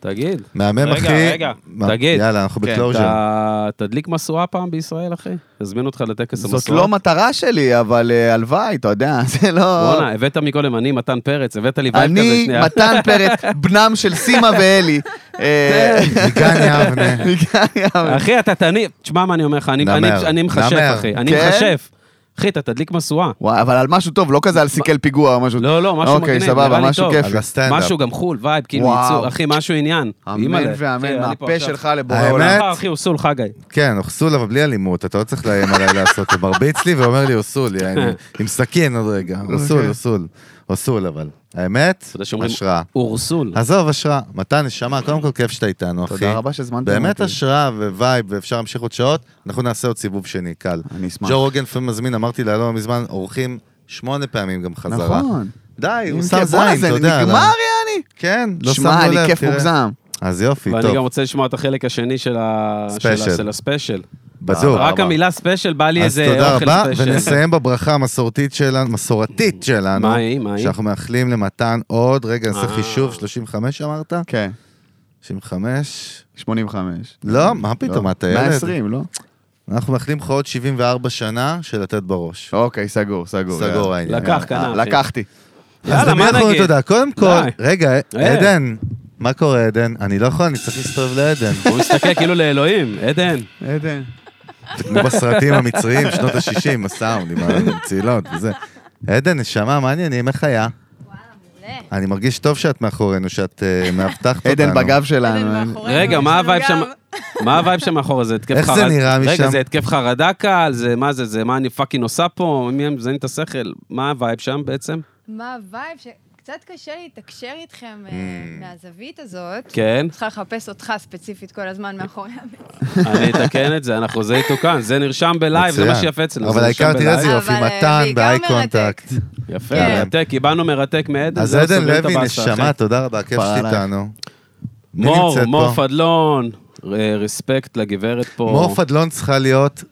S2: תגיד,
S1: מהמם,
S2: רגע,
S1: אחי.
S2: רגע,
S1: מה-
S2: תגיד.
S1: יאללה, אנחנו
S3: כן,
S1: בקלוז'ר.
S2: אתה תדליק משואה פעם בישראל, אחי? תזמין אותך לטקס המשואה.
S3: זאת לא מטרה שלי, אבל אה, הלוואי, אתה יודע, *laughs* זה לא...
S2: בואנה, הבאת מקודם, אני מתן פרץ, הבאת לי וייב כזה
S3: אני,
S2: שנייה.
S3: מתן פרץ,
S2: *laughs*
S3: בנם של סימה ואלי. אה,
S1: מגן
S2: *laughs*
S1: יבנה.
S2: אחי, אתה תניב, תשמע מה אני אומר לך, אני-
S1: נמר,
S2: אני- אני
S1: נמר.
S2: מכשף, אחי, אני
S3: כן?
S2: מכשף. אחי, אתה תדליק משואה.
S3: וואי, אבל על משהו טוב, לא כזה על סיכל פיגוע או משהו.
S2: לא, לא, משהו מגניב,
S3: אוקיי,
S2: נראה לי
S3: סבבה, משהו
S2: טוב.
S1: על
S3: כיפי.
S1: הסטנדאפ.
S2: משהו גם חו"ל, וייב, כאילו
S3: וואו.
S2: ייצור, אחי, משהו עניין.
S3: אמן
S2: אימא'לה. כן, אחי,
S3: ואמן,
S2: אני פה
S3: מהפה
S2: עכשיו-
S3: שלך לבורא
S1: האמת?
S3: עולם.
S2: אה, אחי, הוא סול חגי.
S1: כן, אוכסול, אבל בלי אלימות, אתה לא צריך לאיים עליי לעשות. הוא מרביץ לי ואומר לי אוסול, יעני, עם סכין עוד רגע. אוסול, אוסול. אוסול, אבל. האמת,
S2: אוקיי. אתה יודע שאומרים,
S1: השראה.
S2: אורסול.
S1: עזוב, השראה. מתן, נשמה, קודם כל כיף שאתה איתנו, אחי.
S3: תודה רבה שהזמנתם אותי.
S1: באמת השראה ווייב, ואפשר להמשיך עוד שעות, אנחנו נעשה עוד סיבוב שני, קל.
S3: אני אשמח.
S1: ג'ו רוגן לפעמים מזמין, אמרתי לה לא מזמן, אורחים שמונה פעמים גם חזרה.
S3: נכון.
S1: די, הוא
S3: אם
S1: שם
S3: כן, בואנה,
S1: זין,
S3: זה
S1: אתה יודע.
S3: נגמר,
S1: לא-
S3: יעני.
S1: כן, לא שמנו לב,
S3: שמע, אני כיף
S1: תראה.
S3: מוגזם.
S1: אז יופי,
S2: ואני גם
S1: טוב,
S2: רוצה לשמוע את החלק השני של ה- של
S1: ספיישל.
S2: ה- של הספיישל.
S1: בזום.
S2: רק המילה ספיישל, בא לי
S1: אז
S2: איזה
S1: תודה
S2: אוכל
S1: רבה,
S2: ספיישל.
S1: ונסיים בברכה המסורתית שלנו, מסורתית שלנו.
S2: מה היא? מה היא?
S1: שאנחנו מאחלים למתן עוד, רגע, נעשה
S2: אה.
S1: חישוב, 35 אמרת?
S3: כן,
S1: 35?
S3: 85.
S1: לא, מה פתאום,
S3: לא.
S1: אתה ילד.
S3: 120, לא?
S1: אנחנו מאחלים לך עוד 74 שנה של לתת בראש.
S3: אוקיי, סגור, סגור.
S1: סגור
S3: יאללה.
S1: העניין.
S2: לקח, קנה.
S3: אה,
S2: אחי.
S3: לקחתי.
S1: אז
S2: יאללה,
S1: למי
S2: מה
S1: אנחנו אומרים
S2: נגיד?
S1: תודה? קודם כל,
S2: די.
S1: רגע,
S2: אה.
S1: עדן, מה קורה עדן? אני לא יכול, אני צריך להסתובב לעדן.
S2: הוא מסתכל כאילו לאלוהים, עדן.
S3: עדן.
S1: כמו בסרטים המצריים, שנות ה-60, הסאונד, עם הצלילות וזה. עדן, נשמה, מה העניינים? איך היה?
S4: וואלה, מעולה.
S1: אני מרגיש טוב שאת מאחורינו, שאת אה, מאבטחת אותנו.
S3: עדן בגב
S4: עדן
S3: שלנו.
S4: מאחורינו, יש
S2: רגע,
S4: לנו
S2: מה הווייב
S4: גב.
S2: שם? מה הווייב שם מאחורה? זה התקף
S1: איך
S2: חרדה.
S1: זה נראה
S2: רגע,
S1: משם?
S2: זה התקף חרדה קל, זה מה זה, זה מה אני פאקינג עושה פה, מי מזיין את השכל? מה הווייב שם בעצם?
S4: מה הווייב שקצת קשה לי לתקשר איתכם
S1: Mm.
S4: אה, מהזווית הזאת.
S2: כן,
S4: צריכה לחפש אותך ספציפית כל הזמן מאחורי המציאות.
S2: אני אתקן את זה, אנחנו, זה יתוקן, זה נרשם בלייב, זה מה
S1: מצוין.
S2: שיפה אצלנו.
S1: אבל
S2: זה נרשם
S1: העיקר, תראה איזה
S2: בלייב.
S1: יופי,
S4: אבל, אה,
S1: מתן
S4: בעיקר
S1: באיי
S4: מרתק.
S1: קונטקט.
S2: יפה,
S4: כן.
S2: מרתק, קיבלנו מרתק מעדן.
S1: אז
S2: *laughs* זה
S1: עדן
S2: סוגר את
S1: לוי,
S2: הבאסה, אחי.
S1: נשמה, תודה רבה, כיף
S3: כפרה
S1: שאת
S3: עלייך.
S1: איתנו. מי
S2: מור,
S1: נמצאת
S2: מור
S1: פה?
S2: פדלון, אה, רספקט לגברת פה.
S1: מור פדלון צריכה להיות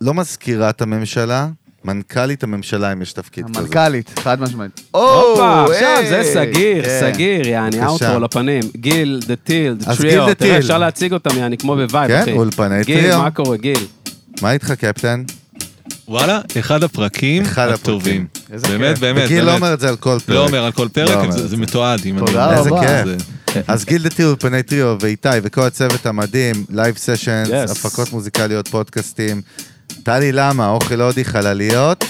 S1: לא מזכירת הממשלה, מנכ"לית הממשלה, אם יש תפקיד כזה.
S3: המנכ"לית, חד משמעית.
S2: הופה, עכשיו
S3: היי.
S2: זה סגיר,
S3: כן.
S2: סגיר, יעני,
S1: בבקשה.
S2: אאוטרו לפנים. גיל, דה טיל, דה
S1: אז גיל,
S2: טריו,
S1: The Teal.
S2: תראה, אפשר להציג אותם, יעני, כמו בווייב,
S1: כן,
S2: אחי.
S1: אולפני
S2: גיל,
S1: טריו.
S2: מה קורה, גיל?
S1: מה איתך, קפטן?
S5: וואלה, אחד הפרקים
S1: אחד הפרקים.
S5: הטובים.
S3: איזה
S5: באמת,
S3: כיף.
S5: באמת,
S1: וגיל לא
S5: באמת.
S1: אומר את זה על כל פרק.
S5: לא אומר על כל
S1: לא
S5: פרק,
S1: אומר
S5: זה-
S1: את
S5: זה מתועד. אם אני-
S3: תודה
S1: איזה
S3: רבה.
S1: כיף.
S5: זה-
S1: אז גיל דה טריו, אולפני טריו, ואיתי וכל הצוות המדהים, לייב סשנס,
S2: Yes.
S1: הפקות מוזיקליות, פודקאסטים. טלי למה, אוכל הודי, חלליות.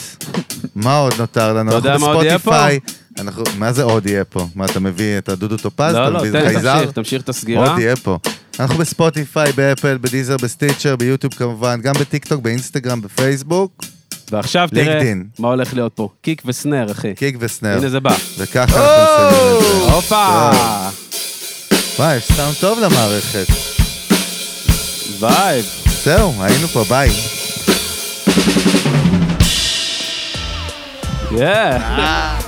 S1: מה עוד נותר לנו?
S2: אתה יודע
S1: אנחנו
S2: מה עוד יהיה
S1: בספוטיפיי. אנחנו, מה זה עוד יהיה פה? מה, אתה מביא את הדודו טופז?
S2: לא,
S1: אתה
S2: לא,
S1: מביא את
S2: תן,
S1: חייזר?
S2: תמשיך, תמשיך את הסגירה.
S1: עוד יהיה פה. אנחנו בספוטיפיי, באפל, בדיזר, בסטיצ'ר, ביוטיוב כמובן, גם בטיקטוק, באינסטגרם, בפייסבוק,
S2: ועכשיו תראה
S1: לינקדין.
S2: מה הולך להיות פה. קיק וסנר, אחי.
S1: קיק וסנאר.
S2: הנה זה בא.
S1: וככה אנחנו מסיימים את זה.
S2: הופה!
S1: וואי, יש סאונד טוב למערכת.
S2: וייב.
S1: זהו, היינו פה, ביי.
S2: Yeah.